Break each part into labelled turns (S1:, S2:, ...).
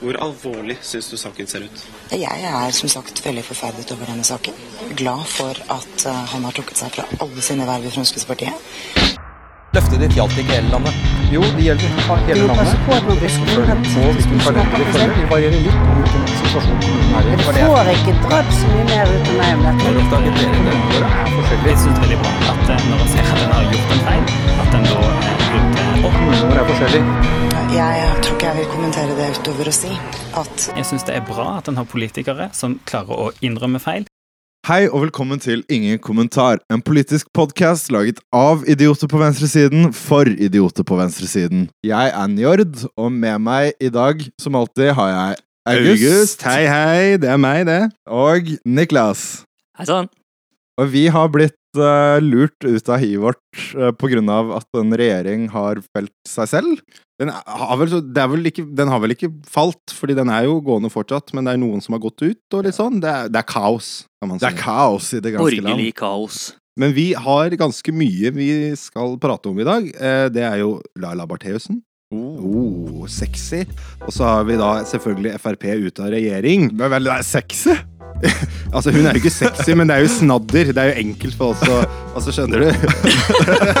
S1: Hvor alvorlig syns du saken ser ut?
S2: Jeg er som sagt veldig forferdet over denne saken. Glad for at eh, han har trukket seg fra alle sine verv i Fremskrittspartiet.
S3: Løftet ditt gjaldt ikke hele landet. Jo, det gjelder ha- hele landet. Og hvis du tar det til følge, vil variere litt om hvilken situasjon kommunen er i. For det
S4: får ikke drøpt så mye mer ut av meg om dette.
S3: er oppdaget dere det året, er forskjellig.
S5: Jeg synes det er veldig bra at eh, når en ser at en har gjort en feil, at en da eh, rydder opp.
S3: Kommuner er forskjellig.
S2: Jeg tror ikke jeg vil kommentere det utover å si at
S5: Jeg synes det er bra at en har politikere som klarer å innrømme feil.
S6: Hei og velkommen til Ingen kommentar, en politisk podkast laget av idioter på venstresiden for idioter på venstresiden. Jeg er Njord, og med meg i dag, som alltid, har jeg August,
S7: Hei, hei. Det er meg, det.
S6: og Niklas.
S8: Hei sann.
S6: Og vi har blitt eh, lurt ut av hiet vårt eh, på grunn av at en regjering har felt seg selv.
S7: Den har, vel, så- det er vel ikke, den har vel ikke falt, fordi den er jo gående fortsatt, men det er noen som har gått ut og litt sånn. Det er, det er kaos, kan man si.
S6: Det er kaos i det ganske land.
S8: Borgerlig kaos.
S7: Men vi har ganske mye vi skal prate om i dag. Eh, Det er jo Laila Bartheussen. Oh, sexy. Og så har vi da selvfølgelig Frp ut av regjering.
S6: Det er veldig det er sexy.
S7: Altså, hun er jo ikke sexy, men det er jo snadder. Det er jo enkelt for oss å Altså, skjønner du?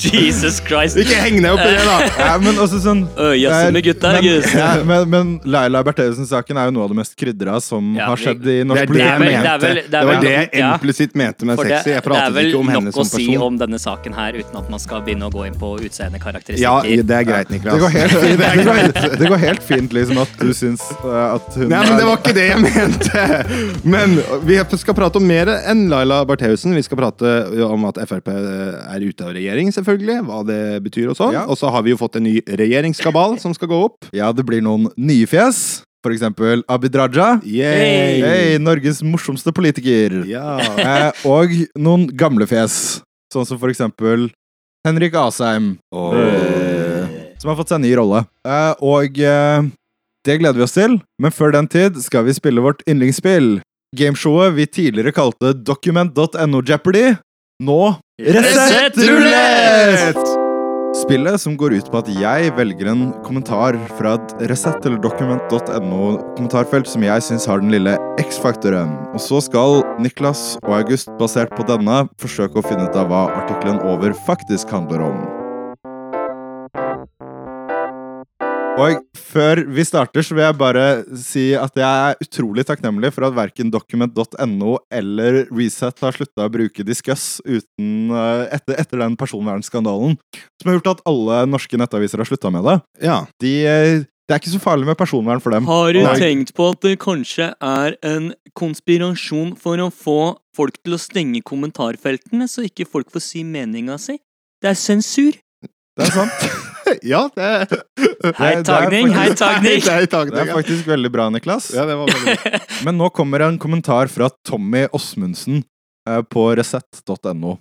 S8: Jesus Christ.
S7: Ikke heng deg opp i det, da!
S6: Ja, men også sånn
S8: Ø, Jazze med gutta,
S6: men,
S8: August.
S6: ja, men, men Laila Bertheussen-saken er jo noe av det mest krydra som
S8: Ja,
S6: har
S8: vi-
S6: skjedd i
S7: Det
S6: norsk
S7: er det jeg
S8: vel- det
S7: mente.
S8: er vel- det er
S7: Det var
S8: vel-
S7: det jeg
S8: ja.
S7: implisitt mente med
S8: For det,
S7: sexy.
S8: det
S7: Jeg
S8: er
S7: pratet
S8: vel
S7: ikke om henne
S8: nok å
S7: som
S8: si
S7: person.
S8: om denne saken her uten at man skal begynne å gå inn på
S7: Ja,
S8: utseendekarakteristikker.
S7: det er greit, Niklas.
S6: Det går helt fint, det går helt, det går helt fint liksom, at du syns eh, at hun
S7: Nei, men Det var ikke det jeg mente! Men vi skal prate om mer enn Laila Bertheussen. Vi skal prate om at Frp er ute av regjering, selvfølgelig. Hva det betyr og sånn.
S6: Ja.
S7: Og så har vi jo fått en ny regjeringskabal som skal gå opp.
S6: Ja, det blir noen nye fjes. For eksempel Abid Raja.
S7: Yay!
S6: Hey, Norges morsomste politiker.
S7: Ja.
S6: Eh, og noen gamle fjes. Sånn som for eksempel Henrik Asheim. Eh, Som har fått seg ny rolle. Eh, og eh, det gleder vi oss til. Men før den tid skal vi spille vårt yndlingsspill. Gameshowet vi tidligere kalte document.no Jeopardy. Nå Resett-rulett! Spillet som går ut på at jeg velger en kommentar fra et resett- eller dokument.no-kommentarfelt som jeg syns har den lille X-faktoren. Og så skal Niklas og August, basert på denne, forsøke å finne ut av hva artikkelen over faktisk handler om. Og før vi starter, så vil jeg bare si at jeg er utrolig takknemlig for at verken document.no eller Resett har slutta å bruke Discuss uten, eh, etter, etter den personvernskandalen som har gjort at alle norske nettaviser har slutta med det.
S7: ja.
S6: De, eh, det er ikke så farlig med personvern for dem.
S8: Har du
S6: Nei.
S8: tenkt på at det kanskje er en konspirasjon for å få folk til å stenge kommentarfeltene, så ikke folk får si meninga si? Det er sensur.
S6: Det er sant.
S7: ja, det
S8: Hei,
S6: det er
S8: tagning! Hei,
S6: faktisk-
S8: tagning!
S7: Det er i
S6: Det er
S7: tagning. ja.
S6: faktisk veldig bra, Niklas.
S7: Ja, det var veldig bra.
S6: Men nå kommer en kommentar fra Tommy Osmundsen eh, på resett.no.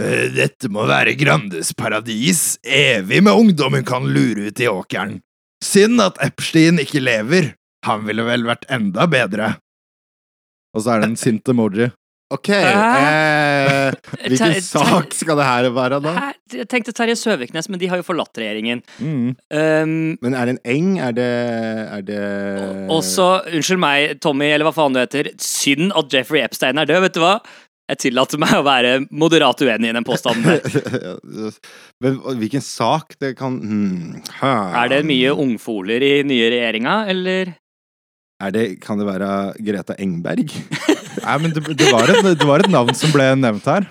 S6: Eh, Dette må være Grandes paradis, evig med ungdommen kan lure ut i åkeren. Synd at Epstein ikke lever, han ville vel vært enda bedre. Og så er det en sint emoji.
S7: Ok. Eh, hvilken sak skal det her være, da?
S8: Hæ? Jeg tenkte Terje Søviknes, men de har jo forlatt regjeringen.
S6: Mm.
S8: Um,
S7: Men er det en eng? Er det Er det
S8: Også, unnskyld meg, Tommy, eller hva faen du heter. Synd at Jeffrey Epstein er død, vet du hva? Jeg tillater meg å være moderat uenig i den påstanden der.
S7: Men hvilken sak det kan hmm, hæ.
S8: Er det mye ungfoler i nye regjeringa, eller?
S7: Er det, Kan det være Greta Engberg?
S6: Nei, men det, det, var et, det var et navn som ble nevnt her.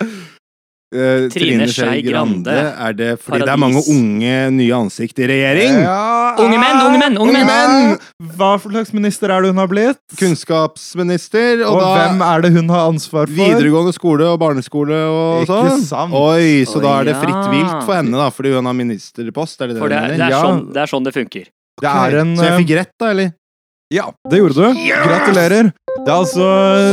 S7: Eh,
S8: Trine Skei Grande.
S7: Er det fordi det er mange
S8: Paradis.
S7: unge, nye ansikt i regjering?
S6: Ja,
S8: Unge menn, unge menn, unge
S7: Unge menn!
S6: Hva for slags minister er det hun har blitt?
S7: Kunnskapsminister, og,
S6: Og
S7: da
S6: hvem er det hun har ansvar for?
S7: videregående skole og barneskole og
S6: Ikke
S7: sånn.
S6: sant.
S7: Oi, så da
S8: Oi,
S7: er det
S8: ja.
S7: fritt vilt for henne, da, fordi hun har ministerpost? Er det det
S8: For
S7: du
S8: det,
S7: mener?
S8: det, er
S6: Ja.
S8: sånn, det er sånn det funker.
S6: Det er en eh,
S7: Så jeg fikk rett, da, eller?
S6: Ja, det gjorde du. Gratulerer. Det er altså,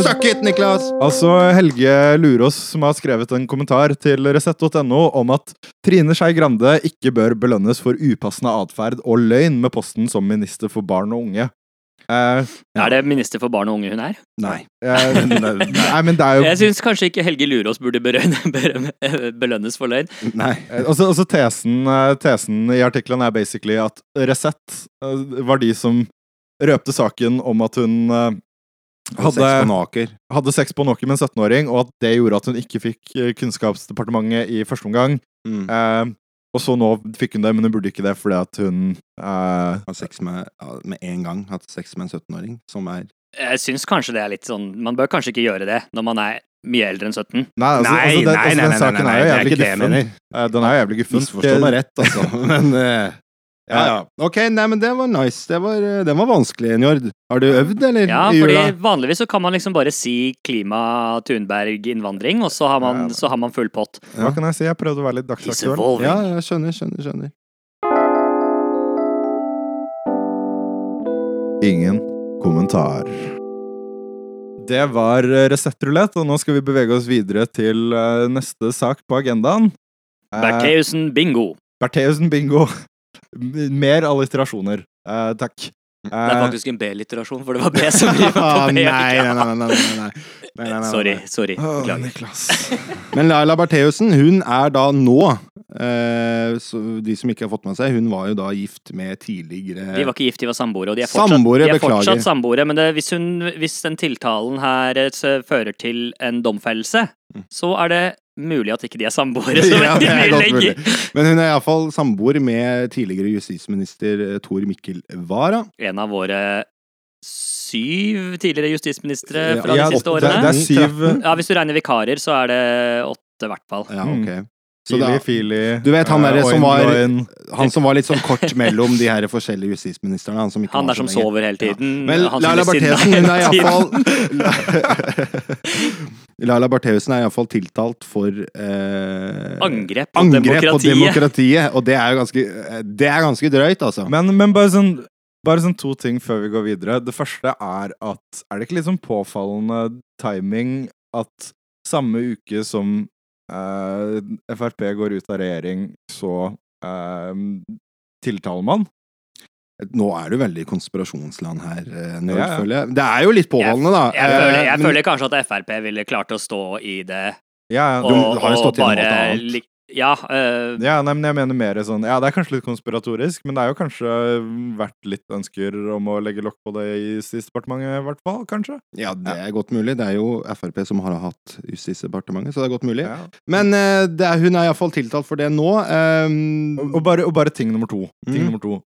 S7: Suck it, Niklas!
S6: altså Helge Lurås som har skrevet en kommentar til resett.no om at Trine Skei Grande ikke bør belønnes for upassende atferd og løgn med posten som minister for barn og unge. Eh,
S8: Er det minister for barn og unge hun er?
S7: Nei.
S6: eh, nei, men det er jo
S8: Jeg syns kanskje ikke Helge Lurås burde berø- berø- belønnes for løgn.
S7: Nei.
S6: Eh, Altså, altså tesen, eh, tesen i artikkelen er basically at Resett eh, var de som røpte saken om at hun eh,
S7: Hadde
S6: hadde,
S7: Naker.
S6: hadde sex på Nåker med en 17-åring, og at det gjorde at hun ikke fikk eh, Kunnskapsdepartementet i første omgang.
S7: Mm.
S6: Eh, og så nå fikk hun det, men hun burde ikke det fordi at hun eh,
S7: Hatt sex med ja, med en gang. Hatt sex med en 17-åring. Som er
S8: Jeg syns kanskje det er litt sånn Man bør kanskje ikke gjøre det når man er mye eldre enn 17.
S6: Nei, altså,
S7: Nei,
S6: altså, den, altså,
S7: nei, nei,
S6: den
S7: nei,
S6: saken
S7: nei,
S6: er jo
S7: nei,
S6: jævlig
S7: det er ikke det jeg
S6: guffen. Eh, Den er jo jævlig guffen.
S7: Misforstå meg rett, altså. Men eh, ja,
S6: Ja.
S7: ja. Ok, nei, men det var nice. Det var, eh, den var vanskelig, Njord. Har du øvd, eller?
S8: Ja,
S7: i
S8: fordi
S7: jula?
S8: vanligvis så kan man liksom bare si klima, Thunberg, innvandring, og så har man, så har man full pott.
S6: Hva kan jeg si? Jeg prøvde å være litt
S8: He's
S6: dagsaktuell.
S8: evolving.
S7: Ja, ja, skjønner, skjønner, skjønner.
S6: Ingen kommentar. Det var Resett-rulett, og nå skal vi bevege oss videre til eh, neste sak på agendaen. Eh,
S8: Bertheussen bingo.
S6: Bertheussen bingo. M- Mer alliterasjoner. Eh, takk.
S8: Mm, Det er
S6: Eh,
S8: faktisk en B-litterasjon, for det var B som driver på
S7: Ah,
S8: B.
S7: nei, nei, nei, nei, nei, nei, nei. nei, nei, nei.
S8: Sorry, sorry.
S6: Åh,
S8: Beklager.
S6: Niklas.
S7: Men Laila Bertheussen, hun er da nå eh, så De som ikke har fått med seg, hun var jo da gift med tidligere
S8: De var ikke gift, de var samboere. Og de er fortsatt,
S7: Samboere,
S8: de er
S7: beklager.
S8: fortsatt samboere, men det, hvis, hun, hvis den tiltalen her eh, s- fører til en domfellelse, så er det mulig at ikke de er samboere. Så
S7: Mm. Ja,
S8: veldig
S7: det er
S8: mye
S7: godt
S8: lenger.
S7: Men hun er iallfall samboer med tidligere justisminister eh, Tor Mikkel Wara.
S8: En av våre syv tidligere justisministre
S7: Ja,
S8: fra
S6: Ja,
S8: de siste
S6: åtte- det,
S8: årene.
S6: det er syv eh,
S8: Ja, Hvis du regner vikarer, så er det åtte, i hvert fall.
S7: Ja,
S6: Mm.
S7: ok. Så det
S6: Fili, Fili
S7: er- Du vet han
S6: eh,
S7: derre
S6: Oin,
S7: som var-
S6: Loin.
S7: han som var litt sånn kort mellom de her forskjellige justisministrene. Han som, ikke
S8: Han
S7: var
S8: der som
S7: så lenge.
S8: sover hele tiden.
S7: Men
S8: han som
S7: Laila
S8: blir sinna
S7: Bertheussen,
S8: hele
S7: hun er
S8: tiden.
S7: iallfall Laila Bertheussen er iallfall tiltalt for eh,
S8: Angrep på
S7: angrep på
S8: demokratiet.
S7: demokratiet. Og det er jo ganske, eh, det er ganske drøyt, altså.
S6: Men, men bare, sånn, bare sånn to ting før vi går videre. Det første er at Er det ikke litt sånn påfallende timing at samme uke som eh, Frp går ut av regjering, så eh, tiltaler man?
S7: Nå er du veldig i konspirasjonsland her, eh, Njord,
S6: Ja, ja.
S7: føler jeg. Det er jo litt påholdende, da.
S8: Jeg, føler,
S7: Eh,
S8: jeg
S7: men-
S8: føler kanskje at Frp ville klart å stå i det
S6: Ja,
S8: og,
S6: ja.
S7: du har jo stått
S8: og
S7: gjennom
S8: bare
S7: alt annet.
S8: lik- Ja, øh,
S6: ja nei, men jeg mener mer sånn Ja, det er kanskje litt konspiratorisk, men det er jo kanskje vært litt ønsker om å legge lokk på det i Justisdepartementet, i hvert fall, kanskje?
S7: Ja, det er godt mulig. Det er jo Frp som har hatt Justisdepartementet, så det er godt mulig.
S6: Ja.
S7: Men eh, det er, hun er iallfall tiltalt for det nå. eh,
S6: Og og bare, og bare ting nummer to. Ting
S7: Mm.
S6: nummer to.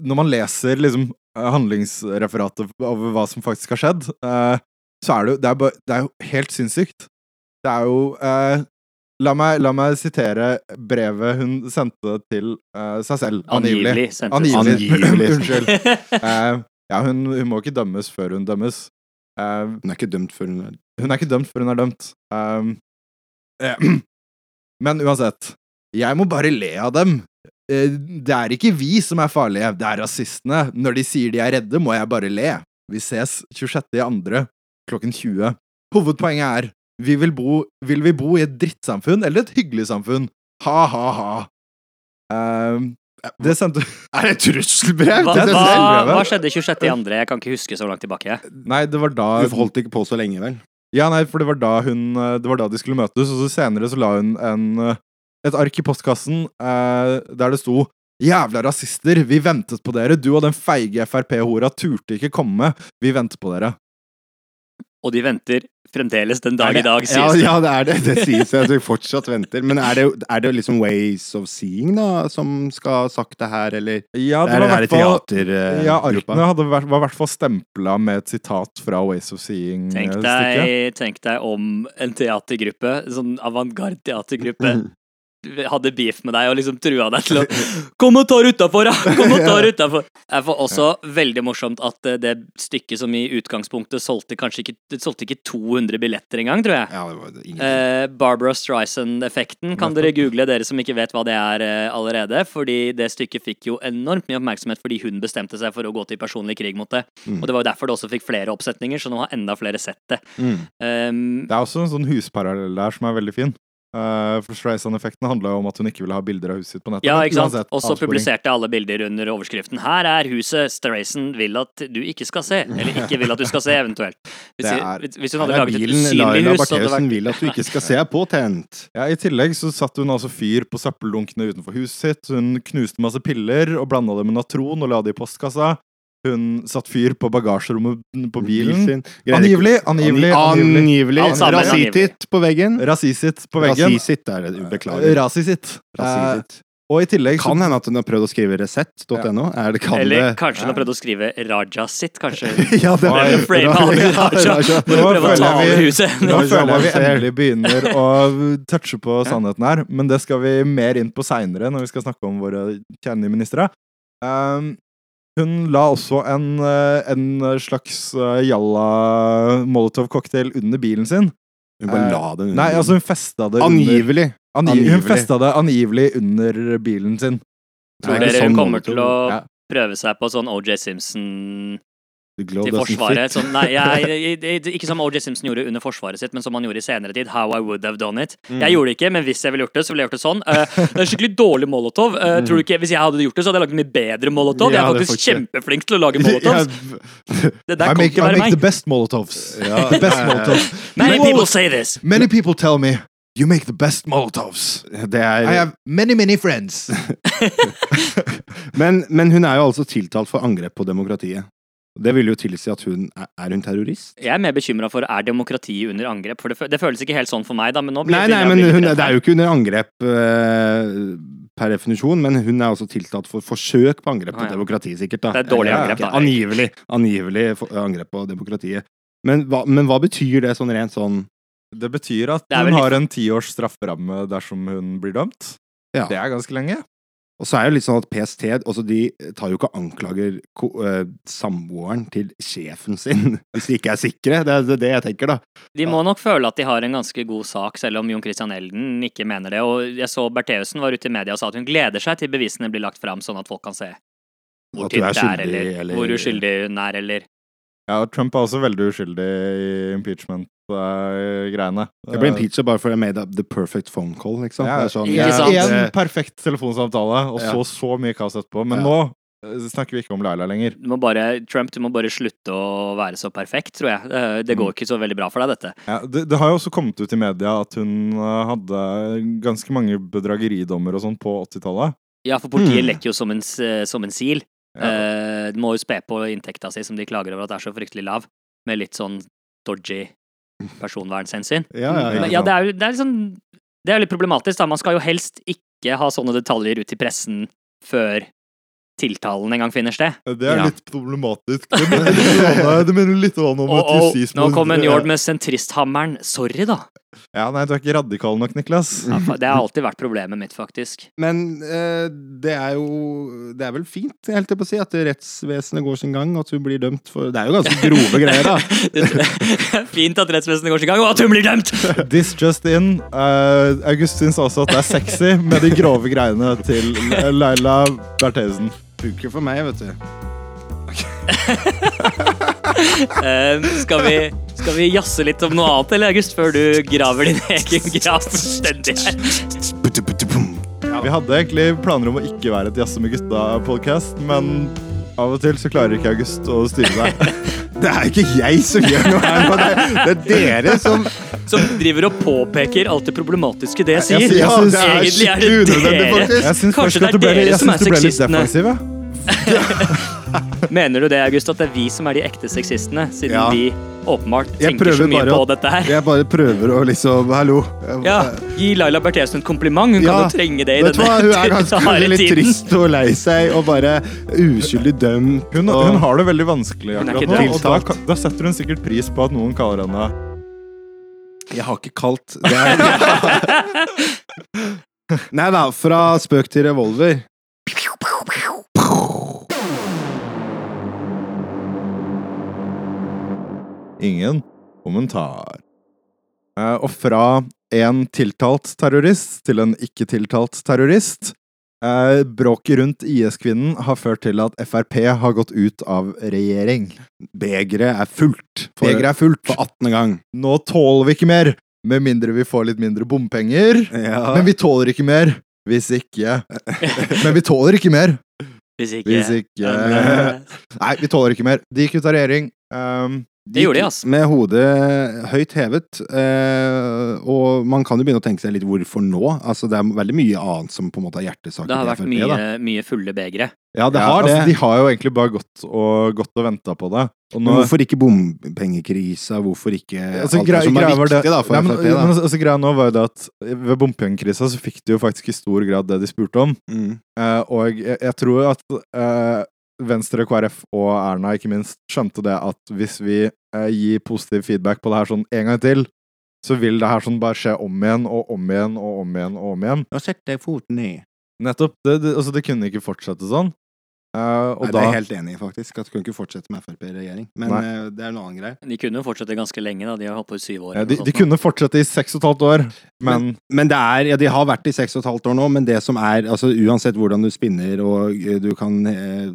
S6: Når man leser liksom, eh, handlingsreferatet over hva som faktisk har skjedd, eh, så er det jo det er, bare, det er jo helt sinnssykt. Det er jo eh, la, meg, la meg sitere brevet hun sendte til eh, seg selv. Angivelig.
S8: angivelig sendte det
S6: Angivelig.
S7: Angivelig.
S6: Unnskyld.
S8: sånn.
S6: Eh, ja, hun, hun må ikke dømmes før hun dømmes. Eh,
S7: hun er ikke dømt før hun er
S6: hun er ikke dømt før hun er dømt. Ehm, eh, men uansett. Jeg må bare le av dem. Eh, Det er ikke vi som er farlige, det er rasistene. Når de sier de er redde, må jeg bare le. Vi ses 26.2. klokken 20. Hovedpoenget er vi vil, bo, vil vi bo i et drittsamfunn eller et hyggelig samfunn? Ha, ha, ha. Ehm, det sendte
S7: Er det et trusselbrev
S8: Hva,
S7: til seg
S8: hva,
S7: selv?
S8: hva skjedde 26. i andre? Jeg kan ikke huske så langt tilbake. jeg.
S6: Nei, det var da
S7: Hun holdt ikke på så lenge, vel?
S6: Ja, nei, for det var da hun eh, Det var da de skulle møtes, og så senere så la hun en eh, et ark i postkassen eh, der det sto Jævla rasister, vi ventet på dere, du og den feige Frp-hora turte ikke komme, vi venter på dere.
S8: Og de venter fremdeles den dag i dag,
S7: ja,
S8: sies det.
S7: ja, det er det. Det sies jeg at vi fortsatt venter. Men er det, er det liksom Ways of Seeing da, som skal ha sagt det her, eller?
S6: Ja, det var
S7: er, er det
S6: hvert fall Ja,
S7: teatergruppa?
S6: arkene hadde, vært- var i hvert fall stempla med et sitat fra Ways of
S8: Tenk
S6: Seeing-stykket.
S8: deg, tenk deg om en teatergruppe, sånn avantgarde teatergruppe, hadde beef med deg og liksom trua deg til å Kom og ta det utafor, da! Kom og ta det utafor! Det var også veldig morsomt at eh, det stykket som i utgangspunktet solgte kanskje ikke, det solgte ikke 200 billetter engang, tror jeg.
S7: Ja, det var ingen
S8: Eh, Barbara Streisand-effekten kan dere google, dere som ikke vet hva det er eh, allerede. Fordi det stykket fikk jo enormt mye oppmerksomhet fordi hun bestemte seg for å gå til personlig krig mot det.
S7: Mm.
S8: Og det var jo derfor det også fikk flere oppsetninger, så nå har enda flere sett det.
S7: Mm.
S8: Um,
S6: Det er også en sånn husparallell der som er veldig fin. Eh, for Streisand-effekten handla jo om at hun ikke ville ha bilder av huset sitt på nettet.
S8: Ja,
S6: men
S8: ikke sant?
S6: uansett,
S8: Og så
S6: avsporing.
S8: publiserte jeg alle bilder under overskriften 'Her er huset Strayson vil at du ikke skal se'. Eller 'ikke vil at du skal se', eventuelt. Hvis,
S6: Det er-
S8: hvis- hvis hun hadde
S7: Her er
S8: laget et
S7: bilen
S8: usynlig hus, så hadde
S7: Laila
S8: det vært
S7: Bartheussen vil at du ikke skal se påtent.
S6: Ja, I tillegg så satte hun altså fyr på søppeldunkene utenfor huset sitt. Hun knuste masse piller og blanda det med natron og la det i postkassa. Hun satte fyr på bagasjerommet på bilen.
S7: Bilen sin. Greide
S6: Angivelig! Angivelig! angivelig.
S7: Angivelig.
S8: Alt sammen angivelig.
S7: Rasitit på veggen.
S6: Rasisitt på veggen.
S7: Rasisitt er det. Beklager.
S6: Rasisitt. Eh, liksom-
S7: Rasisitt.
S6: og i tillegg så
S7: Kan hende at hun har prøvd å skrive resett.no. Er det kan
S8: Eller
S7: det
S8: kanskje hun har prøvd å skrive Raja sitt, kanskje.
S7: Ja, det
S8: Prøver å frame alle i Raja.
S7: Raja.
S8: Når du
S6: Nå
S8: prøver å ta
S6: føler jeg
S8: over
S6: vi-
S8: huset.
S6: Nå
S7: Nå
S6: føler jeg vi
S7: føler
S6: endelig begynner å touche på sannheten her, men det skal vi mer inn på seinere når vi skal snakke om våre kjerneministre. Um, hun la også en, eh, en slags eh, jalla molotov-cocktail under bilen sin.
S7: Hun bare la den
S8: Mm.
S6: Nei, altså hun festa det under,
S7: Angivelig.
S6: angi, Hun
S7: angivelig.
S6: festa det angivelig under bilen sin.
S8: Tror
S7: Nei,
S8: dere
S7: sånn
S8: hun kommer
S7: måte.
S8: til å
S6: Ja.
S8: prøve seg på sånn OJ Simpson
S7: The glow
S8: til
S7: doesn't
S8: Forsvaret?
S7: fit.
S8: Sånn, nei, jeg, jeg, jeg- ikke som OJ Simpson gjorde under Forsvaret sitt, men som han gjorde i senere tid. How I would have done it.
S7: Mm.
S8: Jeg gjorde det ikke, men hvis jeg ville gjort det, så ville jeg gjort det sånn. Eh, det er en skikkelig dårlig molotov. Eh, tror du ikke, Hvis jeg hadde gjort det, så hadde jeg lagd en mye bedre molotov. Jeg
S7: Mm. Ja,
S8: er
S7: det er
S8: faktisk kjempeflink til å lage
S7: Ja,
S8: molotovs. Det der
S6: I
S8: kan
S6: make,
S8: ikke
S6: I
S8: være
S6: make the
S8: meg.
S6: best molotovs.
S7: Ja.
S6: The best molotovs.
S8: Many
S6: Wow.
S8: people say this.
S6: Many people tell me you make the best molotovs.
S7: det
S6: I
S7: er,
S6: have many, many friends.
S7: men, men hun er jo altså tiltalt for angrep på demokratiet. Det vil jo tilsi at hun Er, er hun terrorist?
S8: Jeg er mer bekymra for er demokratiet under angrep. For det, fø- det føles ikke helt sånn for meg, da. Men nå blir
S7: Nei, nei, men hun, det er jo ikke under angrep eh, per definisjon, men hun er også tiltalt for forsøk på angrep på
S8: Ah, ja.
S7: demokratiet, sikkert. da.
S8: Det er dårlig
S7: Ja,
S8: angrep,
S7: ja,
S8: da.
S7: Angivelig. Angivelig for, eh, angrep på demokratiet. Men hva, men hva betyr det sånn rent sånn
S6: Det betyr at
S8: Det er
S6: hun
S8: vel litt-
S6: har en tiårs strafferamme dersom hun blir dømt.
S7: Ja.
S6: Det er ganske lenge.
S7: Og så er det jo litt sånn at PST altså de tar jo ikke og anklager ko, eh, samboeren til sjefen sin, hvis de ikke er sikre. Det er det, er det jeg tenker, da.
S8: De må nok føle at de har en ganske god sak, selv om Jon Christian Elden ikke mener det. Og jeg så Bertheussen var ute i media og sa at hun gleder seg til bevisene blir lagt fram, sånn at folk kan se hvor
S7: At du er
S8: tynt det er,
S7: skyldig,
S8: eller,
S7: eller-
S8: hvor uskyldig hun er, eller
S6: Ja, og Trump er også veldig uskyldig i impeachment-greiene. Eh,
S7: Jeg ble impeached bare for I made up the perfect phone call, liksom.
S6: Ja,
S7: Det er sånn,
S8: ikke
S7: ja,
S8: sant?
S7: det-
S6: En perfekt telefonsamtale, og
S7: Ja.
S6: så så mye kaos etterpå. Men
S7: Ja.
S6: nå eh, snakker vi ikke om Laila lenger.
S8: du må bare, Trump, du må bare slutte å være så perfekt, tror jeg. Eh, Det
S7: Mm.
S8: går ikke så veldig bra for deg, dette.
S6: Ja, det, det har jo også kommet ut i media at hun eh, hadde ganske mange bedrageridommer og sånn på 80-tallet.
S8: Ja, for politiet
S7: Hmm.
S8: lekker jo som en, s- eh, som en sil.
S6: Ja.
S8: Eh, må jo spe på inntekta si, som de klager over at er så fryktelig lav, med litt sånn dodgy personvernhensyn.
S7: ja, ja,
S8: Men
S7: ikke
S8: ja,
S7: sant.
S8: det er jo det er liksom, det er jo litt problematisk, da. Man skal jo helst ikke ha sånne detaljer ut i pressen før tiltalen en gang finner sted.
S6: Det er
S7: Ja.
S6: litt problematisk. Det minner litt om- det minner litt om et
S8: Og, og nå
S6: justismord.
S8: kom en jord med sentristhammeren. Sorry, da.
S6: Ja, nei, du er ikke radikal nok, Niklas.
S8: Ja, fa- Det har alltid vært problemet mitt, faktisk.
S7: Men eh, det er jo Det er vel fint, jeg holdt på å si, at rettsvesenet går sin gang, og at hun blir dømt for Det er jo ganske grove greier, da.
S8: Fint at rettsvesenet går sin gang, og at hun blir dømt!
S6: This just in. eh, August syns også at det er sexy med de grove greiene til Laila Bertheussen.
S7: Funker for meg, vet du.
S8: Eh, skal, vi, skal vi jazze litt om noe annet, eller, August, før du graver din egen grav fullstendig her?
S6: Vi hadde egentlig planer om å ikke være et Jazze med gutta-podkast, men av og til så klarer ikke August å styre deg.
S7: Det er ikke jeg som gjør noe her nå, det, det er dere som
S8: Som driver og påpeker alt det problematiske det jeg sier.
S6: Jeg synes-
S7: Ja, det er
S8: Egentlig er det
S7: skikkelig unødvendig,
S8: dere.
S7: faktisk.
S6: Jeg syns
S8: Kanskje
S6: først at
S8: det er
S6: du ble,
S8: dere
S6: jeg
S8: som
S6: syns
S8: er
S6: du ble litt
S8: sexistene.
S6: defensiv. Ja.
S8: Mener du det, August, at det er vi som er de ekte sexistene, siden
S7: Ja.
S8: vi åpenbart
S7: Jeg
S8: tenker så
S7: prøver
S8: mye
S7: bare
S8: på
S7: å-
S8: dette her?
S7: Jeg bare prøver å liksom Hallo.
S8: Ja, Gi Laila Bertheussen en kompliment, hun
S7: Ja,
S8: kan jo trenge det i
S7: Vet du hva, hun er ganske
S8: harde
S7: litt
S8: tiden.
S7: trist og lei seg og bare uskyldig dømt.
S6: Hun,
S7: og,
S6: hun har det veldig vanskelig
S8: Hun er
S6: akkurat
S8: ikke
S6: nå, og da,
S7: tiltalt.
S6: kan- da setter hun sikkert pris på at noen kaller henne
S7: Jeg har ikke kalt det er, Nei da, fra spøk til revolver.
S6: Ingen kommentar. Eh, og fra en tiltalt terrorist til en ikke-tiltalt terrorist. Eh, bråket rundt IS-kvinnen har ført til at Frp har gått ut av regjering.
S7: Begeret er fullt for,
S6: Begeret er fullt.
S7: for 18. gang.
S6: Nå tåler vi ikke mer! Med mindre vi får litt mindre bompenger.
S7: Ja.
S6: Men vi tåler ikke mer. Hvis ikke Men vi tåler ikke mer.
S8: Hvis ikke, eh,
S6: Hvis ikke Nei, vi tåler ikke mer. De gikk ut av regjering. Um,
S8: Det gjorde de, altså.
S7: Med hodet høyt hevet. Eh, og man kan jo begynne å tenke seg litt hvorfor nå. Altså, det er veldig mye annet som på en måte er hjertesaker
S8: Det har
S7: til
S8: vært
S7: FrP,
S8: mye,
S7: da.
S8: mye fulle begre.
S7: Ja, det har
S6: ja,
S7: det.
S6: Altså, de har jo egentlig bare gått og, gått og venta på det. Og
S7: Men
S6: nå,
S7: hvorfor ikke bompengekrisa? Hvorfor ikke
S6: altså,
S7: Eh, alt
S6: grei,
S7: det som er
S6: greia var
S7: viktig
S6: det,
S7: da, for
S6: nei, men,
S7: FrP? Da.
S6: men, altså, greia nå var jo det at ved bompengekrisa så fikk de jo faktisk i stor grad det de spurte om.
S7: mm.
S6: Eh, og jeg, jeg tror at eh, Venstre, KrF og Erna ikke minst skjønte det at hvis vi eh, gir positiv feedback på det her sånn en gang til, så vil det her sånn bare skje om igjen og om igjen og om igjen og om igjen.
S7: Ja, Sett deg foten ned.
S6: Nettopp. Det, det, altså, det kunne ikke fortsette sånn. Eh, og
S7: Nei,
S6: da
S7: Det er jeg helt enig i, faktisk. At du kan ikke fortsette med Frp i regjering. Men
S6: Nei.
S7: eh, det er en annen greie.
S8: De kunne jo fortsette ganske lenge, da. De har holdt på i syv år.
S6: Ja,
S8: eller
S6: de,
S8: noe
S6: de
S8: sånt.
S6: kunne fortsette i seks og et halvt år, men,
S7: Men det er, ja, de har vært i seks og et halvt år nå, men det som er, altså uansett hvordan du spinner og eh, du kan eh,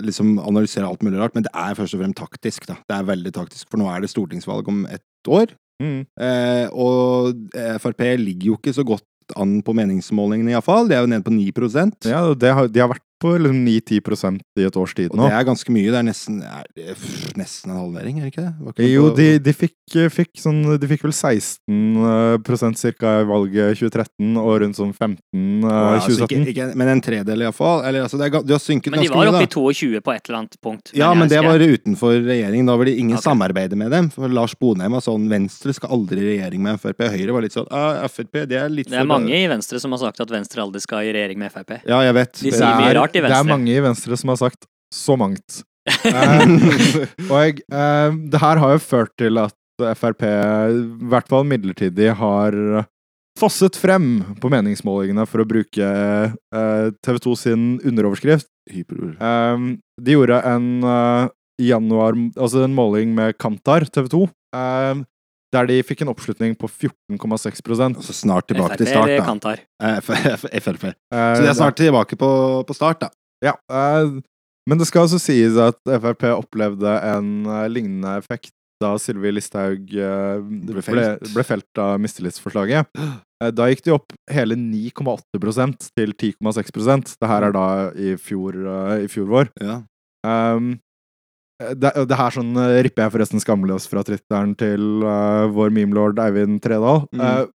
S7: liksom analysere alt mulig rart, men det er først og fremst taktisk, da. Det er veldig taktisk, for nå er det stortingsvalg om ett år,
S6: Mm.
S7: eh, og eh, Frp ligger jo ikke så godt an på meningsmålingene iallfall, de er jo nede på 9
S6: ja, det har, de har vært på liksom, 9-10 i et års tid
S7: og
S6: nå.
S7: det er ganske mye, det er nesten, er, det pff, nesten en halvering, er det ikke det? Var ikke det
S6: Jo,
S7: på-
S6: de, de, fikk, fikk sånn, de fikk vel 16 ca. i valget 2013, og rundt sånn 15 eh,
S7: Å, ja, altså,
S6: 2017.
S7: ikke, ikke, men en tredel iallfall. Eller altså, det er, ga- du har synket
S8: Men de
S7: ganske
S8: var
S7: mye, da.
S8: oppe i 22 på et eller annet punkt.
S7: Ja,
S8: jeg
S7: men det
S8: husker
S7: var
S8: jeg.
S7: utenfor regjeringen. Da var det ingen
S8: Ok.
S7: samarbeide med dem. For Lars Bonheim var sånn Venstre skal aldri i regjering med Frp. Høyre var litt sånn «Ah, Frp, det er litt
S8: Det er mange i Venstre som har sagt at Venstre aldri skal i regjering med Frp.
S7: Ja, jeg vet.
S8: De
S6: Det
S8: sier mye
S6: er-
S8: rart i
S6: Det er
S8: Venstre.
S6: mange i Venstre som har sagt så mangt. Eh, og jeg, eh, det her har jo ført til at Frp, i hvert fall midlertidig, har fosset frem på meningsmålingene for å bruke eh, TV 2 sin underoverskrift.
S7: Hyperord.
S6: Um, de gjorde en uh, januar, altså en måling med Kantar TV 2, um, der de fikk en oppslutning på 14,6 prosent.
S7: Så Altså, snart tilbake til
S8: FrP
S7: start,
S8: eller
S7: da.
S8: Kantar.
S7: Eh, F- F- Frp. Så de er snart tilbake på, på start, da.
S6: Ehm, Ja, eh, men det skal altså sies at Frp opplevde en eh, lignende effekt da Sylvi Listhaug eh, ble,
S7: felt.
S6: ble felt av mistillitsforslaget. Eh, Da gikk de opp hele 9,8 til 10,6 Det her er da i fjor, eh, i fjor vår.
S7: Ja.
S6: Um, det, det her sånn eh, ripper jeg forresten skamløs fra Twitteren til eh, vår memelord Eivind Tredal.
S7: Mm.
S6: Eh,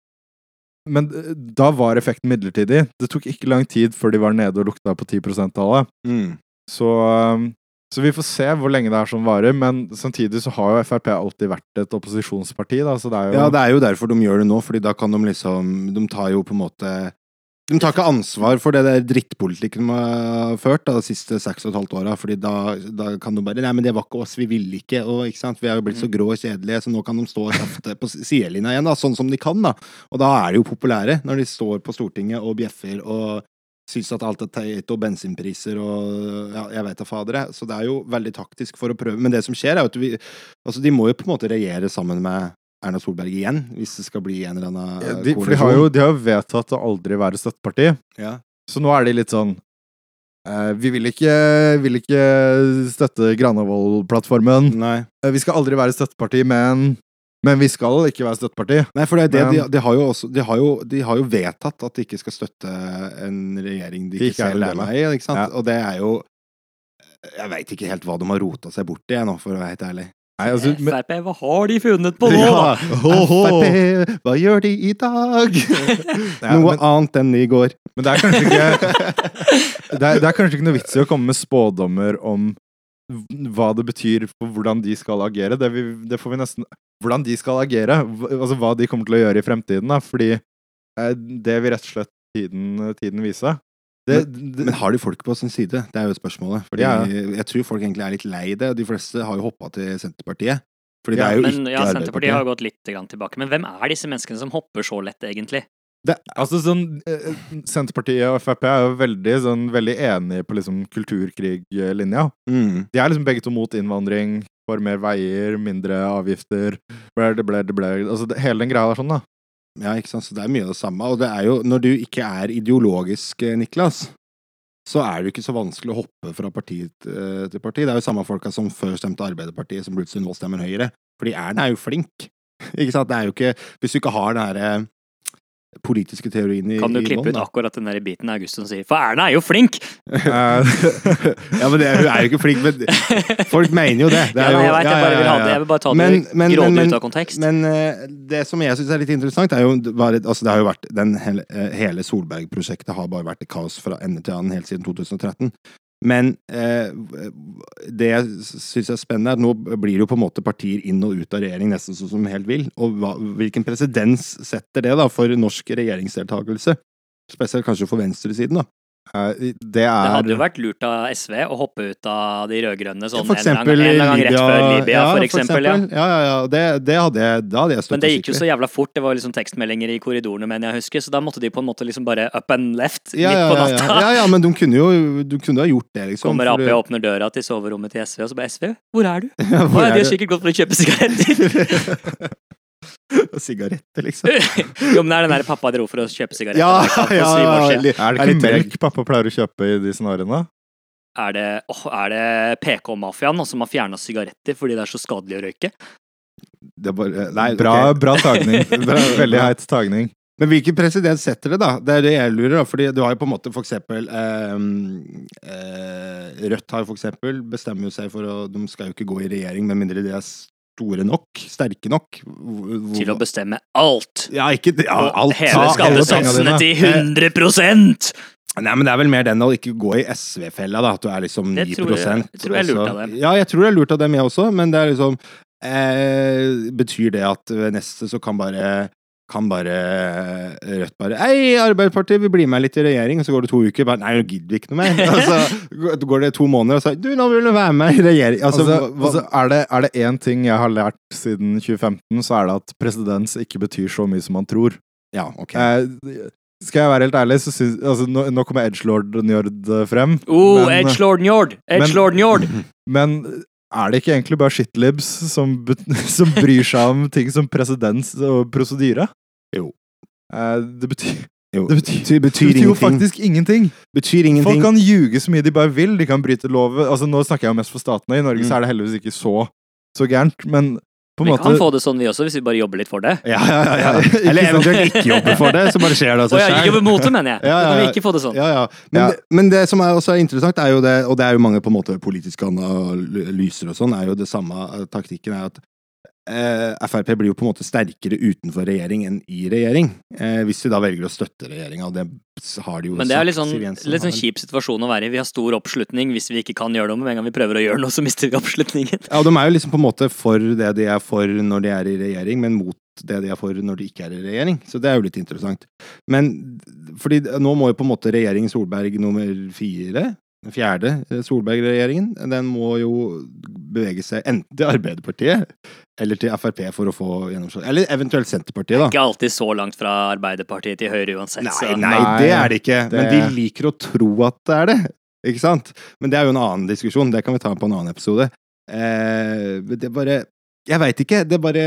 S6: men eh, da var effekten midlertidig. Det tok ikke lang tid før de var nede og lukta på 10 %-tallet.
S7: Mm.
S6: Så, eh, så vi får se hvor lenge det her sånn varer. Men samtidig så har jo Frp alltid vært et opposisjonsparti, da, så det er jo
S7: ja, det er jo derfor de gjør det nå, Fordi da kan de liksom De tar jo på en måte de tar ikke ansvar for det der drittpolitikken de har ført da, de siste seks og et halvt åra, fordi da, da kan de bare Nei, men det var ikke oss, vi ville ikke, og ikke sant, vi er jo blitt så
S6: Mm.
S7: grå og kjedelige, så nå kan de stå og kjefte på sidelinja igjen, da, sånn som de kan, da. Og da er de jo populære, når de står på Stortinget og bjeffer og syns at alt er teit, og bensinpriser og ja, jeg veit da fader, jeg. Så det er jo veldig taktisk for å prøve, men det som skjer, er jo at vi Altså, de må jo på en måte regjere sammen med Erna Solberg igjen, hvis det skal bli en eller annen
S6: Ja,
S7: eh,
S6: de, For de har jo de har jo vedtatt å aldri være støtteparti.
S7: Ja.
S6: Så nå er de litt sånn eh, Vi vil ikke, vil ikke støtte Granavolden-plattformen.
S7: Nei.
S6: Eh, Vi skal aldri være støtteparti, men Men vi skal ikke være støtteparti.
S7: Nei, for det er det, de,
S6: Men-
S7: de, har jo også, de, har jo, de har jo vedtatt at de ikke skal støtte en regjering de
S6: De
S7: ikke,
S6: ikke er
S7: selv er
S6: en del av.
S7: med i, ikke sant?
S6: Ja.
S7: Og det er jo Jeg veit ikke helt hva de har rota seg bort i, jeg nå, for å være helt ærlig.
S6: Nei, altså, men,
S8: Frp, hva har de funnet på nå, da?
S7: Ja, Frp, hva gjør de i dag?
S6: ja,
S7: Noe
S6: men,
S7: annet enn i går.
S6: men det er kanskje ikke det er, det er kanskje ikke noe vits i å komme med spådommer om hva det betyr for hvordan de skal agere. Det, vi, det får vi nesten Hvordan de skal agere, hva- altså hva de kommer til å gjøre i fremtiden, da. Fordi eh, det vil rett og slett tiden, tiden vise. Det, det,
S7: Men har de folk på sin side? Det er jo spørsmålet. Fordi
S6: Ja.
S7: Jeg tror folk egentlig er litt lei det, og de fleste har jo hoppa til Senterpartiet. Fordi
S6: Ja,
S7: det er jo
S8: Men
S7: ikke
S8: ja, Senterpartiet
S7: Arbeiderpartiet.
S8: har gått litt grann tilbake. Men hvem er disse menneskene som hopper så lett, egentlig?
S6: Altså sånn eh, Senterpartiet og Frp er jo veldig, sånn, veldig enige på liksom kulturkriglinja.
S7: Mm.
S6: De er liksom begge to mot innvandring, for mer veier, mindre avgifter ble det, ble det, ble det. Altså det, hele den greia der sånn, da.
S7: Ja, ikke sant? Så det er mye av det samme. Og det er jo, når du ikke er ideologisk, eh, Niklas, så er det jo ikke så vanskelig å hoppe fra parti eh, til parti. Det er jo samme folka som før stemte Arbeiderpartiet, som plutselig nå stemmer Høyre. For de er, er jo flink. Ikke sant? Det er jo ikke Hvis du ikke har den her eh, politiske teorien i
S8: Kan du
S7: i
S8: klippe
S7: bånn,
S8: ut
S7: da.
S8: akkurat den der biten Augustin sier? For Erna er jo flink!
S7: Eh, ja, men det, hun er jo ikke flink, men folk mener jo det. det
S8: Ja,
S7: er jo,
S8: nei, jeg vet, jeg
S7: ja,
S8: bare vil ha
S7: ja,
S8: det.
S7: ja.
S8: Jeg vil bare ta det
S7: Men- men-
S8: grådig
S7: men-
S8: ut av kontekst.
S7: Men eh, det som jeg syns er litt interessant, er jo bare, altså Det har jo vært den hele, eh, hele Solberg-prosjektet har bare vært i kaos fra ende til annen helt siden 2013. Men eh, det jeg syns er spennende, er at nå blir jo på en måte partier inn og ut av regjering nesten sånn som de helt vil. Og hva, hvilken presedens setter det da for norsk regjeringsdeltakelse? Spesielt kanskje for venstresiden, da.
S6: Eh, Det
S8: det hadde jo
S6: er
S8: vært lurt av SV å hoppe ut av de rød-grønne sånn
S7: for
S8: en eller annen-
S7: eksempel
S8: en eller annen gang rett før
S7: Libya-
S8: Libya, for eksempel. Ja.
S7: Ja, ja, ja. Det, det hadde jeg, da hadde jeg støtta
S8: Men det gikk jo så jævla fort, det var liksom tekstmeldinger i korridorene, mener jeg å huske, så da måtte de på en måte liksom bare up and left
S7: ja,
S8: midt på
S7: ja,
S8: natta.
S7: Ja, ja, ja men de kunne jo de kunne ha gjort det, liksom.
S8: Kommer
S7: for
S8: Ap
S7: det-
S8: og åpner døra til soverommet til SV, og så bare SV, hvor er du?
S7: Ja,
S8: Å,
S7: hvor
S8: ja,
S7: er
S8: de har
S7: det?
S8: sikkert gått for å kjøpe sigaretter.
S7: Sigaretter, liksom.
S8: jo, men det er den der pappa dro for å kjøpe sigaretter.
S7: Ja,
S8: der, sant, for
S7: ja,
S8: syv år
S7: ja,
S8: siden.
S7: li-
S6: Er det
S7: litt
S6: ikke
S7: treg.
S6: melk pappa pleier å kjøpe i de scenarioene?
S8: Er det, åh, er det PK-mafiaen nå som har fjerna sigaretter fordi det er så skadelig å røyke?
S7: Det er bare, nei,
S6: Bra,
S7: ok.
S6: bra tagning. Veldig heit tagning.
S7: Men hvilken president setter det, da? Det er det jeg lurer, da. Fordi du har jo på en måte for eksempel eh, eh, Rødt har jo for eksempel bestemmer jo seg for å De skal jo ikke gå i regjering med mindre de er store nok, sterke nok. Hvor-
S8: Til å bestemme alt!
S7: Ja, ikke ja,
S8: Og
S7: alt.
S8: Heve
S7: Ta alle
S8: skattesatsene
S7: pengene
S8: til
S7: dine.
S8: 100
S7: Eh, Nei, men det er vel mer den å ikke gå i SV-fella, da. At du er liksom 9
S8: Det tror jeg- jeg tror jeg er lurt
S7: og så-
S8: av dem.
S7: Ja, jeg tror det er lurt av dem, jeg også, men det er liksom eh, Betyr det at ved neste så kan bare kan bare eh, Rødt bare Hei, Arbeiderpartiet, vi blir med litt i regjering. Og så går det to uker, bare Nei, nå gidder vi ikke noe mer. Og så går det to måneder, og så Du, nå vil du være med i regjering. Altså,
S6: Altså,
S7: hva,
S6: altså, er, det, er det én ting jeg har lært siden 2015, så er det at presedens ikke betyr så mye som man tror.
S7: ja, ok.
S6: Eh, skal jeg være helt ærlig, så syns altså, nå, nå kommer Edgelord Njord eh, frem.
S8: Oh,
S6: Men-
S8: Edgelord Njord!
S7: eh,
S8: Edgelord Njord!
S6: Men er det ikke egentlig bare shitlibs som, bet- som bryr seg om ting som presedens og prosedyre?
S7: Jo.
S6: Eh, det betyr,
S7: Jo,
S6: det
S7: det
S6: betyr-
S7: betyr,
S6: det betyr jo
S7: ingenting.
S6: faktisk ingenting.
S7: betyr
S6: Folk
S7: ingenting.
S6: kan ljuge så mye de bare vil. De kan bryte lover. Altså, nå snakker jeg jo mest for statene. I Norge
S7: Mm.
S6: så er det heldigvis ikke så, så gærent, men på en
S8: Vi
S6: måte
S8: kan få det sånn vi også, hvis vi bare jobber litt for det.
S7: Ja, ja, ja, ja.
S6: Ikke
S7: Eller
S6: sant?
S7: eventuelt ikke jobbe for det, så bare skjer det av
S8: Å
S7: seg
S8: ja,
S7: selv.
S8: jobbe mot det, mener jeg.
S7: Ja, ja,
S8: Da kan
S7: ja.
S8: vi ikke få det sånn.
S7: Ja, ja. Men,
S6: Ja.
S7: men det som er også er interessant, er jo det, og det er jo mange på en måte politiske analyser og sånn, er jo det samme eh, taktikken er at eh, Frp blir jo på en måte sterkere utenfor regjering enn i regjering, eh, hvis de da velger å støtte regjeringa, og det har de jo
S8: Men det er litt sånn,
S7: Siv Jensen
S8: litt
S7: har
S8: sånn
S7: vel-
S8: kjip situasjon å være i. Vi har stor oppslutning hvis vi ikke kan gjøre noe, men med en gang vi prøver å gjøre noe, så mister vi oppslutningen.
S7: Ja, og de er jo liksom på en måte for det de er for når de er i regjering, men mot det de er for når de ikke er i regjering. Så det er jo litt interessant. Men fordi nå må jo på en måte regjering Solberg nummer fire, den fjerde eh, Solberg-regjeringen, den må jo bevege seg enten til Arbeiderpartiet eller til Frp for å få gjennomslag. Eller eventuelt Senterpartiet, da.
S8: Ikke alltid så langt fra Arbeiderpartiet til Høyre uansett,
S7: Nei,
S8: så
S7: nei,
S6: Nei,
S7: det er det ikke. Men de
S6: det-
S7: liker å tro at det er det. Ikke sant? Men det er jo en annen diskusjon. Det kan vi ta på en annen episode. Eh, men det bare Jeg veit ikke. Det bare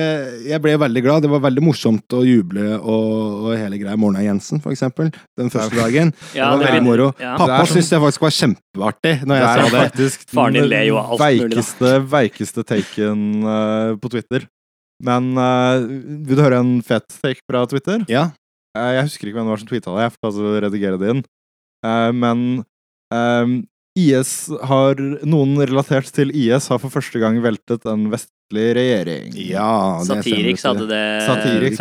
S7: Jeg ble veldig glad. Det var veldig morsomt å juble og, og hele greia. Morna Jensen, for eksempel. Den første dagen.
S8: Ja,
S7: det var
S8: det er-
S7: veldig moro.
S8: ja.
S6: Det
S7: Pappa
S6: er sånn-
S7: syntes det faktisk var kjempeartig når
S6: Det
S7: jeg
S6: er
S7: sa det.
S6: faktisk
S8: Faren din ler jo av alt mulig, da.
S6: veikeste, veikeste taken eh, på Twitter. Men eh, vil du høre en fet take fra Twitter?
S7: Ja.
S6: Eh, jeg husker ikke hvem det var som tweeta det, jeg får altså redigere det inn. Eh, men ehm, IS har Noen relatert til IS har for første gang veltet en vestlig regjering.
S7: ja det
S8: Satiriks hadde
S7: stemmer,
S8: det
S6: Satiriks,